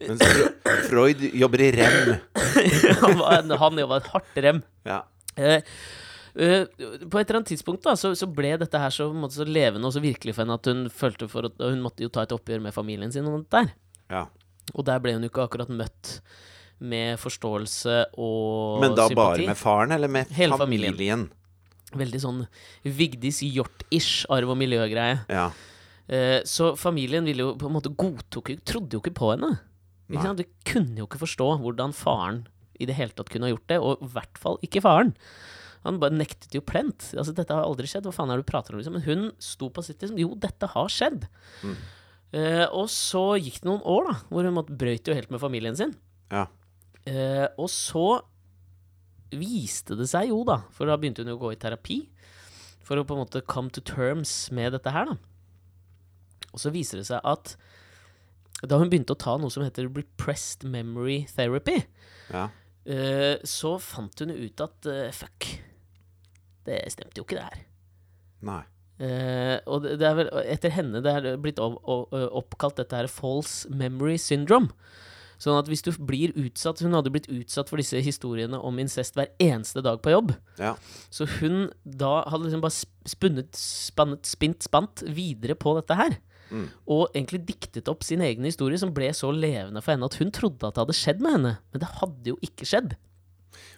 Mens Fre- Freud jobber i rem. Han, var, han jobba et hardt rem. Ja. Eh, eh, på et eller annet tidspunkt da, så, så ble dette her så, på en måte, så levende og så virkelig for henne at hun følte for at og hun måtte jo ta et oppgjør med familien sin. og dette der. ja. Og der ble hun jo ikke akkurat møtt med forståelse og Men da bare sympati. med faren, eller med Hele familien. familien? Veldig sånn Vigdis Hjort-ish arv- og miljøgreie. Ja. Eh, så familien ville jo på en måte godtok jo- Trodde jo ikke på henne. Ikke Nei. sant? De kunne jo ikke forstå hvordan faren i det hele tatt kunne ha gjort det, og i hvert fall ikke faren. Han bare nektet jo plent. Altså, dette har aldri skjedd. Hva faen er det du prater om? Liksom? Men hun sto på sitt liksom. Jo, dette har skjedd. Mm. Eh, og så gikk det noen år, da, hvor hun måtte brøyt jo helt med familien sin. ja. Eh, og så viste det seg jo, da, for da begynte hun jo å gå i terapi for å på en måte come to terms med dette her, da. Og så viser det seg at da hun begynte å ta noe som heter repressed memory therapy, ja. eh, så fant hun ut at eh, fuck, det stemte jo ikke, det her. Nei. Eh, og det, det er vel etter henne det er blitt opp, opp, eh, oppkalt dette her false memory syndrome. Sånn at hvis du blir utsatt Hun hadde blitt utsatt for disse historiene om incest hver eneste dag på jobb. Ja. Så hun da hadde liksom bare sp- spunnet, spannet, spint, spant videre på dette her. Mm. Og egentlig diktet opp sin egen historie, som ble så levende for henne at hun trodde at det hadde skjedd med henne. Men det hadde jo ikke skjedd.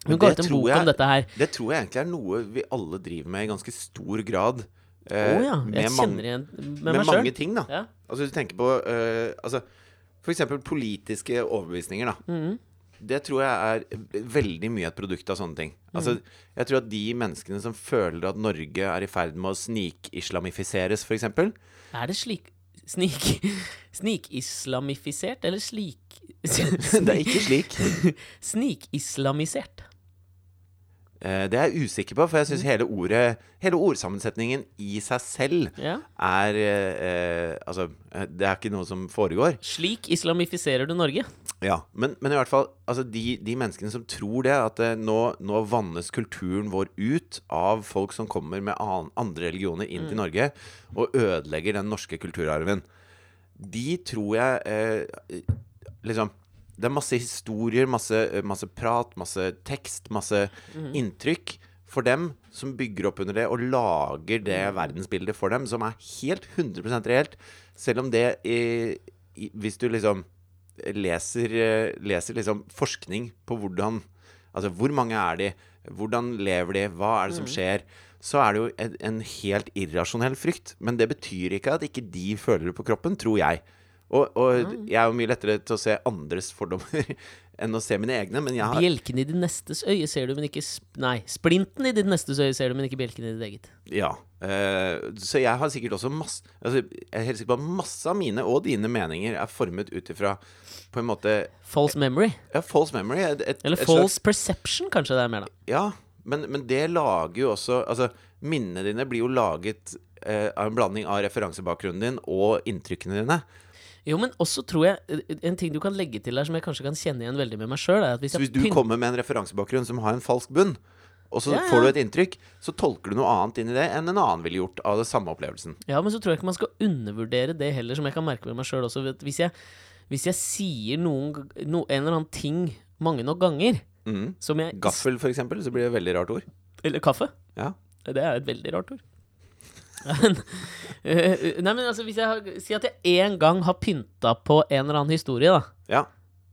Hun Men ga det ut en tror bok jeg- om dette her. Det tror jeg egentlig er noe vi alle driver med i ganske stor grad. Å eh, ja, med jeg mange- kjenner igjen med, med meg mange sjøl. ting, da. Ja. Altså, hvis du tenker på eh, altså, For eksempel politiske overbevisninger, da. Mm. Det tror jeg er veldig mye et produkt av sånne ting. Altså, Mm. jeg tror at de menneskene som føler at Norge er i ferd med å snikislamifiseres, f.eks. (laughs) Er det slik Snik... (laughs) Snikislamifisert, eller slik... (laughs) (laughs) Det er ikke slik. Snikislamisert. Eh, det er jeg usikker på, for jeg Mm. syns hele ordet Hele ordsammensetningen i seg selv Ja. er eh, eh, Altså, eh, det er ikke noe som foregår. Slik islamifiserer du Norge. Ja, men, men i hvert fall altså de, de menneskene som tror det, at eh, nå, nå vannes kulturen vår ut av folk som kommer med an, andre religioner inn til Norge og ødelegger den norske kulturarven, de tror jeg eh, liksom Det er masse historier, masse, eh, masse prat, masse tekst, masse inntrykk for dem som bygger opp under det og lager det verdensbildet for dem, som er helt 100 reelt, selv om det i, i, Hvis du liksom leser, eh, leser liksom forskning på hvordan Altså, hvor mange er de? Hvordan lever de? Hva er det som skjer? Så er det jo en, en helt irrasjonell frykt. Men det betyr ikke at ikke de føler det på kroppen, tror jeg. Og, og jeg er jo mye lettere til å se andres fordommer (laughs) enn å se mine egne, men jeg har Bjelken i ditt nestes øye ser du, men ikke sp Nei, splinten i ditt nestes øye ser du, men ikke bjelken i ditt eget. Ja. eh, så jeg har sikkert også masse altså, Jeg er helt sikker på at masse av mine og dine meninger er formet ut ifra på en måte False memory. ja, false memory. Et, et, Eller et false perception, kanskje det er mer, da. Ja, men, men det lager jo også Altså, minnene dine blir jo laget eh, av en blanding av referansebakgrunnen din og inntrykkene dine. Jo, men også tror jeg eh, En ting du kan legge til her som jeg kanskje kan kjenne igjen veldig med meg sjøl, er at hvis Så jeg hvis du pynter kommer med en referansebakgrunn som har en falsk bunn, og så Ja, ja. får du et inntrykk, så tolker du noe annet inn i det enn en annen ville gjort av den samme opplevelsen. Ja, men så tror jeg ikke man skal undervurdere det heller, som jeg kan merke med meg sjøl også. Vet, hvis, jeg, hvis jeg sier noen, g- no, en eller annen ting mange nok ganger, Mhm. som jeg Gaffel, for eksempel, så blir det et veldig rart ord. Eller kaffe. Ja. Det er et veldig rart ord. (laughs) Men, eh, nei, men altså, hvis jeg har, sier at jeg en gang har pynta på en eller annen historie, da, Ja.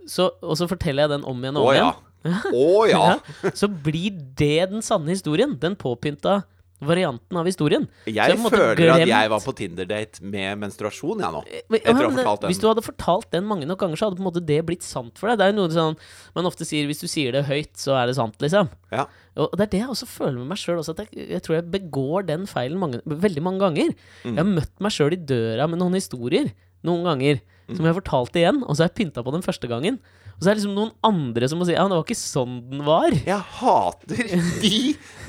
så, og så forteller jeg den om igjen Å og om ja. igjen, (laughs) Å ja. Ja, så blir det den sanne historien. Den påpynta varianten av historien. Så Jeg på en måte føler at glemt- jeg var på Tinder-date med menstruasjon, jeg nå. Men- Etter ja, å ha men det- fortalt Hvis du den. hadde fortalt den mange nok ganger, så hadde på en måte det blitt sant for deg. Det er jo noe sånn man ofte sier hvis du sier det høyt, så er det sant, liksom. Ja. Og det er det jeg også føler med meg sjøl. Jeg, jeg tror jeg begår den feilen mange, veldig mange ganger. Mm. Jeg har møtt meg sjøl i døra med noen historier noen ganger Mm. som jeg har fortalt igjen, og så har jeg pynta på den første gangen. Og så er det liksom noen andre som må si ja, men det var ikke sånn den (laughs) var. (laughs) Jeg hater de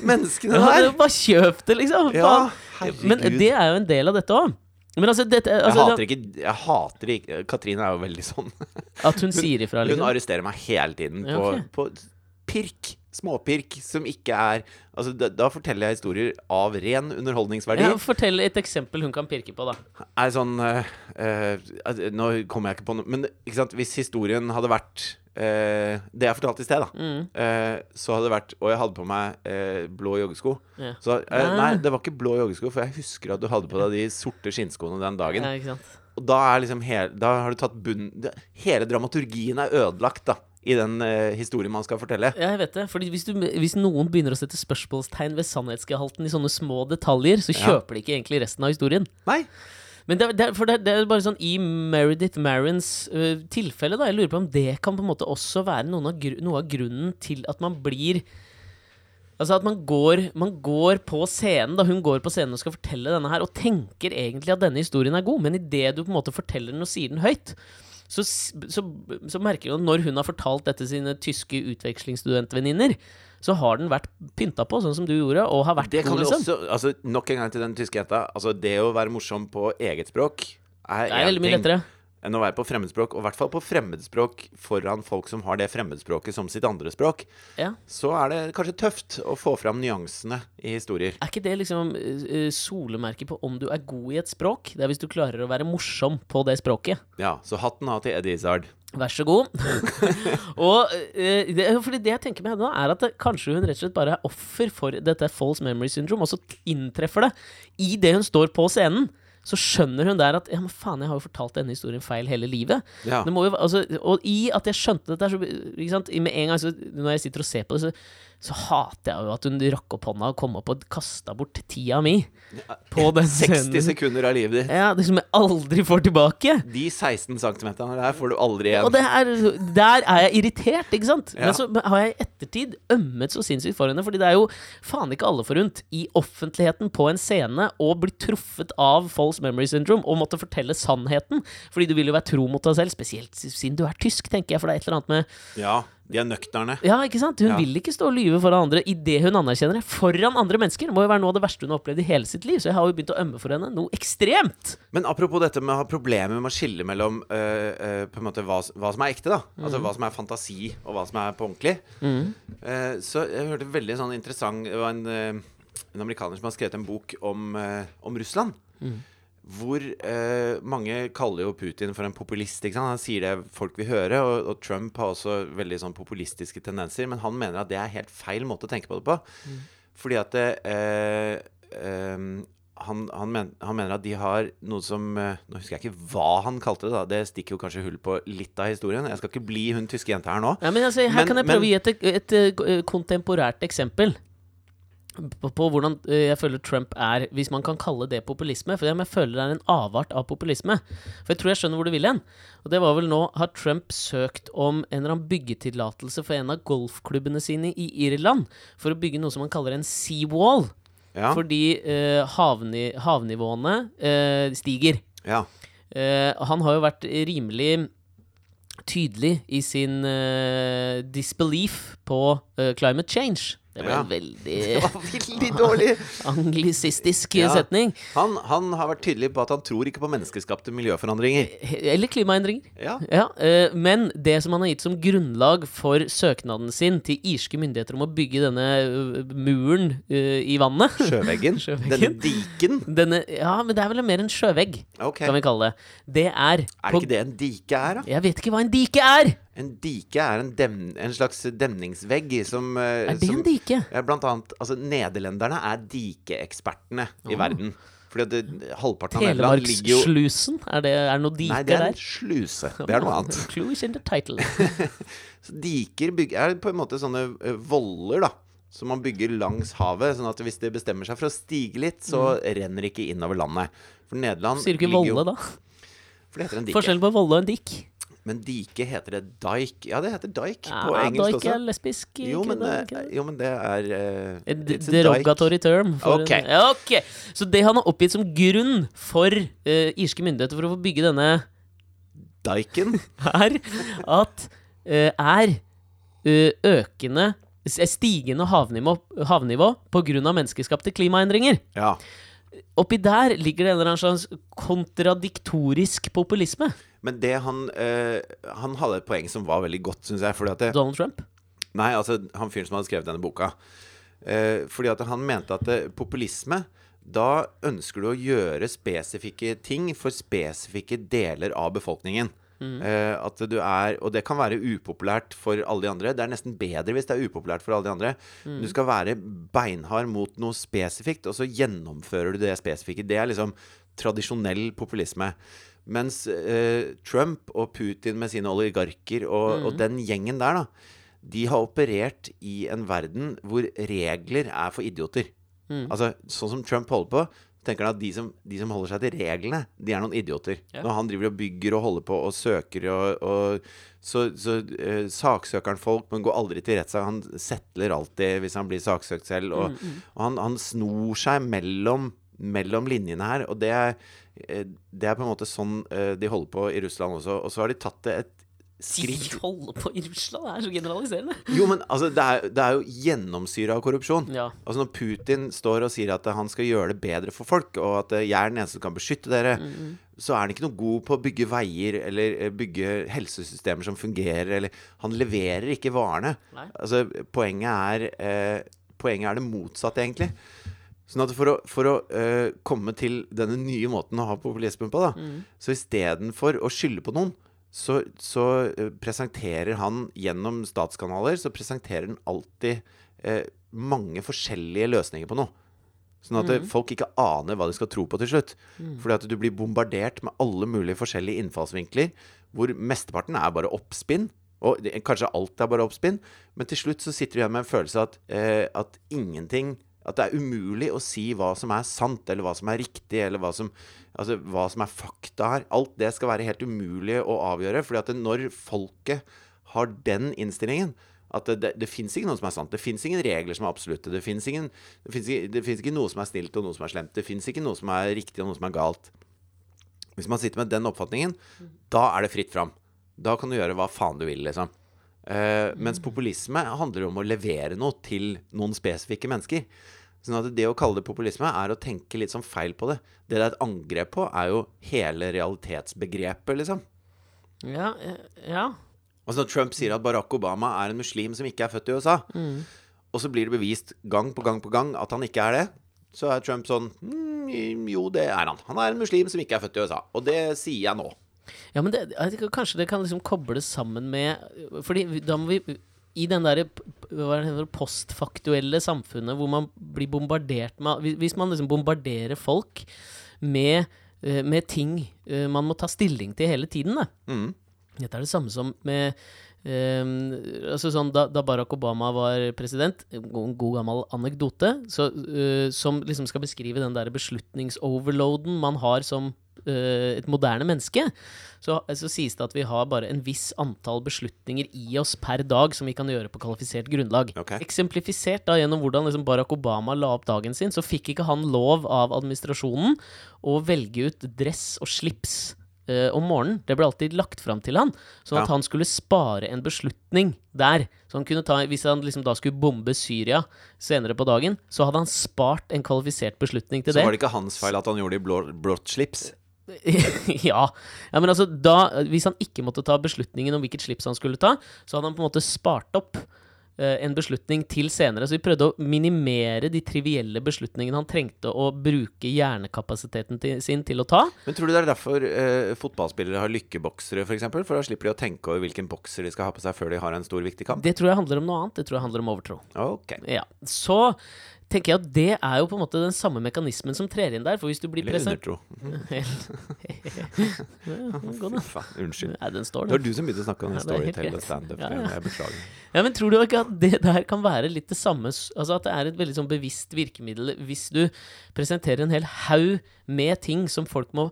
menneskene Ja, der! det- bare kjøp det, liksom. Ja, Faen. Men det er jo en del av dette òg. Men altså, dette, Jeg altså hater ikke Jeg hater ikke Katrine er jo veldig sånn. At hun sier ifra, Hun liksom. arresterer meg hele tiden Ja, på, ok. på pirk. Småpirk som ikke er Altså, da, da forteller jeg historier av ren underholdningsverdi. Ja, fortell et eksempel hun kan pirke på, da. Er sånn eh, eh, at- Nå kommer jeg ikke på noe Men ikke sant, hvis historien hadde vært eh, Det jeg fortalte i sted, da. Mm. eh, så hadde det vært Og jeg hadde på meg eh, blå joggesko. Ja. Så eh, Ah. Nei, det var ikke blå joggesko, for jeg husker at du hadde på deg de sorte skinnskoene den dagen. Ja, ikke sant? Og da er liksom hele, Da har du tatt bunnen det- Hele dramaturgien er ødelagt, da. I den eh, historien man skal fortelle. Ja, jeg vet det. Fordi hvis, du, hvis noen begynner å sette spørsmålstegn ved sannhetsgehalten i sånne små detaljer, så kjøper de ikke egentlig resten av historien. Nei. Men det, er- det, er- for det, er- det er bare sånn i Meredith Marins øh, tilfelle, da. Jeg lurer på om det kan på en måte også være noen av gru, noe av grunnen til at man blir Altså at man går, man går på scenen, da hun går på scenen og skal fortelle denne her, og tenker egentlig at denne historien er god, men idet du på en måte forteller den og sier den høyt, så, s- så, så merker du at når hun har fortalt dette til sine tyske utvekslingsstudentvenninner, så har den vært pynta på, sånn som du gjorde, og har vært Det kan god, du liksom. også altså, Nok en gang til den tyske jenta. Altså, det å være morsom på eget språk er, Det er en veldig mye ting lettere. enn å være på fremmedspråk. Og i hvert fall på fremmedspråk foran folk som har det fremmedspråket som sitt andre språk. Ja. Så er det kanskje tøft å få fram nyansene i historier. Er ikke det liksom eh, eh, solemerket på om du er god i et språk? Det er hvis du klarer å være morsom på det språket. Ja, så hatten av til Eddie Izzard. Vær så god. (laughs) og eh, det, fordi det jeg tenker med henne, da, er at det, kanskje hun rett og slett bare er offer for dette false memory syndrome, og så inntreffer det idet hun står på scenen. Så skjønner hun der at ja, men faen, jeg har jo fortalt denne historien feil hele livet. Ja. Det må jo, være- altså, og i at jeg skjønte dette, her, så, ikke sant? med en gang så, når jeg sitter og ser på det, så, så hater jeg jo at hun rakk opp hånda og kom opp og kasta bort tida mi. På (laughs) den 60 scenen. sekunder av livet ditt. Ja, det som jeg aldri får tilbake. De 16 centimeterne der får du aldri igjen. Og det er, der er jeg irritert, ikke sant? Ja. Men så har jeg i ettertid ømmet så sinnssykt for henne, fordi det er jo faen ikke alle forunt i offentligheten på en scene å bli truffet av false memory syndrome og måtte fortelle sannheten. Fordi du vil jo være tro mot deg selv, spesielt siden du er tysk, tenker jeg, for det er et eller annet med Ja, de er nøkterne. Ja, ikke sant? Hun Ja. vil ikke stå og lyve foran andre idet hun anerkjenner det. Foran andre mennesker! Det må jo være noe av det verste hun har opplevd i hele sitt liv, så jeg har jo begynt å ømme for henne noe ekstremt! Men apropos dette med å ha problemer med å skille mellom øh, øh, på en måte hva, s- hva som er ekte, da. Altså hva som er fantasi, og hva som er på ordentlig. Eh, så jeg hørte veldig sånn interessant Det var en, øh, en amerikaner som har skrevet en bok om, øh, om Russland. Hvor eh, mange kaller jo Putin for en populist. ikke sant? Han sier det folk vil høre. Og, og Trump har også veldig sånn populistiske tendenser. Men han mener at det er helt feil måte å tenke på det på. Fordi at det, eh, eh, han, han, men, han mener at de har noe som eh, Nå husker jeg ikke hva han kalte det. da Det stikker jo kanskje hull på litt av historien. Jeg skal ikke bli hun tyske jenta her nå. Ja, men altså, her Men- kan jeg prøve å men- gi et, et, eh, kontemporært eksempel. På, på hvordan eh, jeg føler Trump er, hvis man kan kalle det populisme. For jeg føler det er en avart av populisme. For jeg tror jeg skjønner hvor du vil hen. Og det var vel nå har Trump søkt om en eller annen byggetillatelse for en av golfklubbene sine i Irland. For å bygge noe som man kaller en seawall. Ja, Fordi eh, havni, havnivåene eh, stiger. ja. Eh, han har jo vært rimelig tydelig i sin eh, disbelief på eh, climate change. Det ble (laughs) Ja. en (laughs) veldig Det var veldig dårlig! anglisistisk Ja. setning. Han, han har vært tydelig på at han tror ikke på menneskeskapte miljøforandringer. Eller klimaendringer. Ja, Ja, eh, Men det som han har gitt som grunnlag for søknaden sin til irske myndigheter om å bygge denne eh, muren eh, i vannet Sjøveggen. Sjøveggen. Denne diken. denne, Ja, men det er vel mer en sjøvegg, Ok. kan vi kalle det. Det er, Er det ikke det en dike er, da? Jeg vet ikke hva en dike er! En dike er en, dem, en slags demningsvegg som Er det en dike? Ja, blant annet Altså, nederlenderne er dikeekspertene i verden. Fordi at det, halvparten av Nederland ligger jo Telemarksslusen? Er det, er det noe Nei, dike det er en der? sluse. (laughs) Det er noe annet. (laughs) Clues in the title. Så diker bygger, er på en måte sånne eh, voller, da. Så man bygger langs havet, sånn at hvis det bestemmer seg for å stige litt, så renner det ikke innover landet. For Nederland Mm. Sier du ikke ligger jo- volle, da? For det heter en dike. Forskjellen på volle og en dikk? Men dike heter det dike. Ja, det heter dike Ja, på da engelsk ikke Ah, er også. lesbisk. Jo men, det, eh, jo, men det er eh, En it's a derogatory term. For Ok. en, Ja, ok. Så det han har oppgitt som grunn for eh, irske myndigheter for å få bygge denne dike. (laughs) Diken. er at eh, er eh, økende s- Stigende havnivå, havnivå pga. menneskeskapte klimaendringer. Ja. Oppi der ligger det en eller annen slags kontradiktorisk populisme. Men det han eh, Han hadde et poeng som var veldig godt, syns jeg. Fordi at det, Donald Trump. Nei, altså han fyren som hadde skrevet denne boka. Eh, fordi at han mente at eh, populisme Da ønsker du å gjøre spesifikke ting for spesifikke deler av befolkningen. Eh, at du er Og det kan være upopulært for alle de andre. Det er nesten bedre hvis det er upopulært for alle de andre. Du skal være beinhard mot noe spesifikt, og så gjennomfører du det spesifikke. Det er liksom tradisjonell populisme. Mens eh, Trump og Putin med sine oligarker og, og den gjengen der, da. De har operert i en verden hvor regler er for idioter. Altså, sånn som Trump holder på, tenker han at de som, de som holder seg til reglene, de er noen idioter. Ja. Når han driver og bygger og holder på og søker og, og Så, så eh, saksøker han folk, men går aldri til rettssak. Han settler alltid hvis han blir saksøkt selv. Og, og han, han snor seg mellom mellom linjene her, og det er, eh, det er på en måte sånn eh, de holder på i Russland også. Og så har de tatt det et skritt Skritt. Holde på i Russland, det er så generaliserende. jo, men altså, det er, det er jo gjennomsyra av korrupsjon. Ja. Altså Når Putin står og sier at han skal gjøre det bedre for folk, og at eh, jeg er den eneste som kan beskytte dere, Mm, så er han ikke noe god på å bygge veier eller eh, bygge helsesystemer som fungerer, eller Han leverer ikke varene. Nei. Altså, poenget er eh, Poenget er det motsatte, egentlig. Sånn at for å, for å eh, komme til denne nye måten å ha populismen på, da, så istedenfor å skylde på noen, så, så eh, presenterer han gjennom statskanaler så presenterer han alltid eh, mange forskjellige løsninger på noe. Sånn at eh, folk ikke aner hva de skal tro på til slutt. Fordi at du blir bombardert med alle mulige forskjellige innfallsvinkler, hvor mesteparten er bare oppspinn. Og det, kanskje alt er bare oppspinn, men til slutt så sitter du igjen med en følelse av at, eh, at ingenting At det er umulig å si hva som er sant, eller hva som er riktig, eller hva som, altså, hva som er fakta her. Alt det skal være helt umulig å avgjøre, fordi at når folket har den innstillingen at det, det, det fins ikke noe som er sant. Det fins ingen regler som er absolutte. Det fins ingen- det fins ikke, det fins ikke noe som er snilt og noe som er slemt. Det fins ikke noe som er riktig og noe som er galt. Hvis man sitter med den oppfatningen, da er det fritt fram. Da kan du gjøre hva faen du vil, liksom. Eh, mens populisme handler om å levere noe til noen spesifikke mennesker. Sånn at det å kalle det populisme er å tenke litt sånn feil på det. Det det er et angrep på, er jo hele realitetsbegrepet, liksom. Ja, eh, ja. Altså Når Trump sier at Barack Obama er en muslim som ikke er født i USA, og så blir det bevist gang på gang på gang at han ikke er det, så er Trump sånn mm, Jo, det er han. Han er en muslim som ikke er født i USA. Og det sier jeg nå. Ja, men det, jeg tenker kanskje det kan liksom kobles sammen med Fordi da må vi i den der p- p- hva er det heter, postfaktuelle samfunnet hvor man blir bombardert med hvis- Hvis man liksom bombarderer folk med, eh, med ting eh, man må ta stilling til hele tiden, da. Mm. Dette er det samme som med ehm, altså sånn, da, da Barack Obama var president, en go- en god gammel anekdote, så, eh, som liksom skal beskrive den der beslutningsoverloaden man har som eh, et moderne menneske, så, så sies det at vi har bare en viss antall beslutninger i oss per dag som vi kan gjøre på kvalifisert grunnlag. Ok. Eksemplifisert da gjennom hvordan liksom Barack Obama la opp dagen sin, så fikk ikke han lov av administrasjonen å velge ut dress og slips eh, om morgenen. Det ble alltid lagt fram til han, sånn at Ja. han skulle spare en beslutning der. Så han kunne ta, Hvis han liksom da skulle bombe Syria senere på dagen, så hadde han spart en kvalifisert beslutning til Så det. var det ikke hans feil at han gjorde det i blå, blått slips. (laughs) ja. ja, men altså da, Hvis han ikke måtte ta beslutningen om hvilket slips han skulle ta, så hadde han på en måte spart opp eh, en beslutning til senere. Så vi prøvde å minimere de trivielle beslutningene han trengte å bruke hjernekapasiteten til, sin til å ta. Men tror du det er derfor eh, fotballspillere har lykkeboksere, f.eks.? For, eksempel? for da slipper de å tenke over hvilken bokser de skal ha på seg før de har en stor, viktig kamp? Det tror jeg handler om noe annet. Det tror jeg handler om overtro. Ok. Ja. Så tenker jeg at det er jo på en måte den samme mekanismen som trer inn der. For hvis du blir Eller pressa (laughs) undertro. Fy faen, Unnskyld. Nei, den står, Det var den. du som begynte å snakke om Ja, det er helt storytell og greit. standup. Ja, greiene. ja. Jeg beklager. Ja, men tror du ikke at det der kan være litt det samme s- Altså at det er et veldig sånn bevisst virkemiddel hvis du presenterer en hel haug med ting som folk må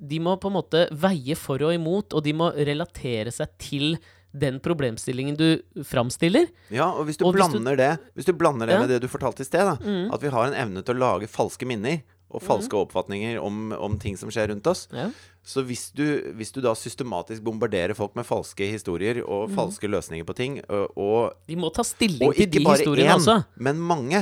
De må på en måte veie for og imot, og de må relatere seg til den problemstillingen du framstiller. Ja, og hvis du Og hvis du- blander det Hvis du blander det Ja. Mm. med det du fortalte i sted, da, at vi har en evne til å lage falske minner og falske oppfatninger om, om ting som skjer rundt oss. Ja. Så hvis du, hvis du da systematisk bombarderer folk med falske historier og falske løsninger på ting, og, og De må ta stilling Og Mm. til ikke de bare historiene én, også. Mm. men mange.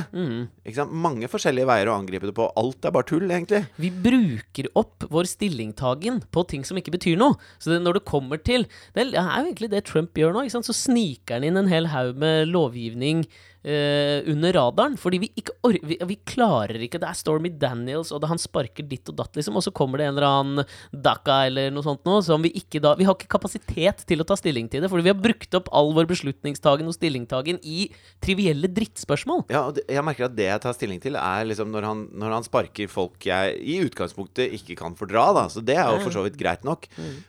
Ikke sant? Mange forskjellige veier å angripe det på. Alt er bare tull, egentlig. Vi bruker opp vår stillingtagen på ting som ikke betyr noe. Så det, når det kommer til Det er jo egentlig det Trump gjør nå. Ikke sant? Så sniker han inn en hel haug med lovgivning eh, under radaren. Fordi vi ikke or vi, vi klarer ikke Det er Stormy Daniels, og det, han sparker ditt og datt, liksom. Og så kommer det en eller annen Dhaka eller noe sånt noe som vi ikke da Vi har ikke kapasitet til å ta stilling til det, fordi vi har brukt opp all vår beslutningstagen og stillingtagen i trivielle drittspørsmål. Ja, og det- jeg merker at det jeg tar stilling til, er liksom når han, når han sparker folk jeg i utgangspunktet ikke kan fordra, da. Så det er jo for så vidt greit nok.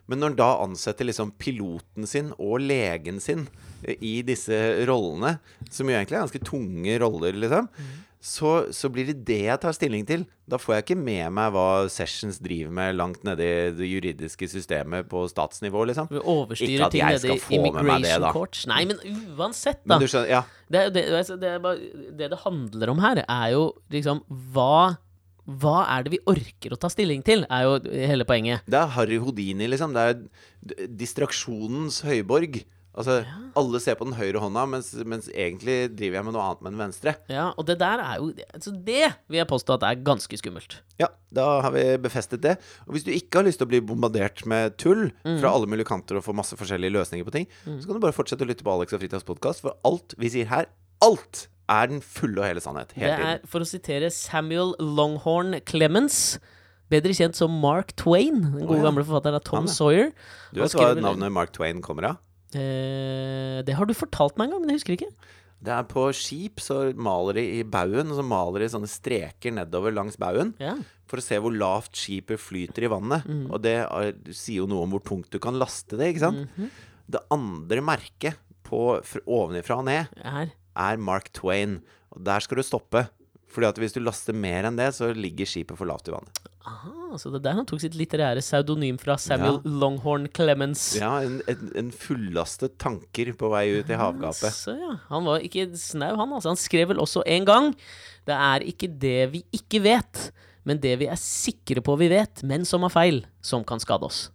Men når han da ansetter liksom piloten sin og legen sin eh, i disse rollene, som jo egentlig er ganske tunge roller, liksom. Så, så blir det det jeg tar stilling til. Da får jeg ikke med meg hva Sessions driver med langt nede i det juridiske systemet på statsnivå, liksom. Vi overstyrer Ikke at ting jeg nede skal i få med meg det, immigration da. courts. Nei, men uansett, da. Men du skjønner, ja. det, er- det, altså, det, er bare, det det handler om her, er jo liksom hva hva er det vi orker å ta stilling til, er jo hele poenget. Det er Harry Houdini, liksom. Det er d- distraksjonens høyborg. Altså, alle ser på den høyre hånda, mens, mens egentlig driver jeg med noe annet med den venstre. Ja, Og det der er jo altså Det vil jeg påstå at er ganske skummelt. Ja, da har vi befestet det. Og hvis du ikke har lyst til å bli bombardert med tull Mm. fra alle mulige kanter og få masse forskjellige løsninger på ting, så kan du bare fortsette å lytte på Alex og Fritas podkast, for alt vi sier her, alt er den fulle og hele sannhet. Det Hele er, tiden. for å sitere Samuel Longhorn Clemens, bedre kjent som Mark Twain, den gode Å, ja. gamle forfatteren av Tom Han, ja. Sawyer. Du Han vet hva skrev vel- navnet Mark Twain kommer av? Eh, det har du fortalt meg en gang, men jeg husker ikke. Det er på skip, så maler de i baugen, og så maler de sånne streker nedover langs baugen. Ja. for å se hvor lavt skipet flyter i vannet. Mm. Og det er, sier jo noe om hvor tungt du kan laste det, ikke sant? Mhm. Det andre merket på fr- ovenifra og ned Her. er Mark Twain. Og der skal du stoppe. Fordi at hvis du laster mer enn det, så ligger skipet for lavt i vannet. Ah, så det der han tok sitt litterære pseudonym fra Samuel Ja. Longhorn Clemens. Ja, en, en, en fullastet tanker på vei ut i havgapet. Så ja, Han var ikke snau, han. altså Han skrev vel også en gang Det er ikke det vi ikke vet, men det vi er sikre på vi vet, men som er feil, som kan skade oss.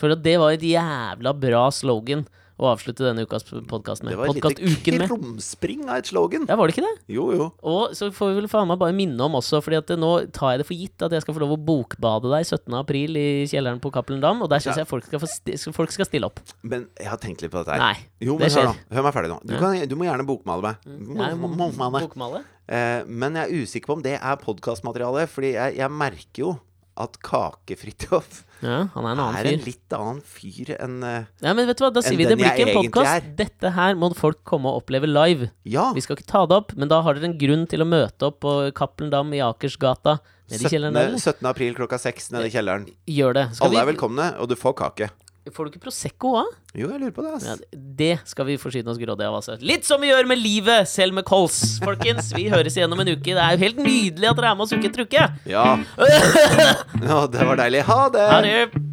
For at det var et jævla bra slogan å avslutte denne ukas podkast med. Det var et Podcastuken lite med. (laughs) krumspring av et slogan. Ja, var det ikke det? Jo, jo. Og så får vi vel faen meg bare minne om også, Fordi at det, nå tar jeg det for gitt at jeg skal få lov å bokbade deg 17. april i kjelleren på Cappelen Dam, og der syns Ja. jeg folk skal, få sti folk skal stille opp. Men jeg har tenkt litt på dette her. Nei, jo, men det hør, skjer. nå. hør meg ferdig nå. Du, kan, du må gjerne bokmale meg. Nei, Må- må- må- må- Bokmale? Eh, men jeg er usikker på om det er podkastmateriale, fordi jeg, jeg merker jo at (laughs) Kake-Fridtjof Ja, han er en annen er fyr. en litt annen fyr enn eh, Ja, men vet du hva, da sier enn vi det den blir ikke jeg en egentlig podkast. er. Dette her må folk komme og oppleve live. Ja! Vi skal ikke ta det opp, men da har dere en grunn til å møte opp på Cappelen Dam i Akersgata. Nede i 17. kjelleren der, eller? 17. april klokka seks nede i kjelleren. Gjør det. Skal Alle vi- er velkomne, og du får kake. Får du ikke Prosecco òg? Jo, jeg lurer på det, ass. Ja, det skal vi forsyne oss grådig av. Altså. Litt som vi gjør med livet, selv med kols. Folkens, vi høres igjen om en uke. Det er jo helt (laughs) nydelig at dere er med oss uke etter uke. Ja. ja, det var deilig. Ha det! Ha det!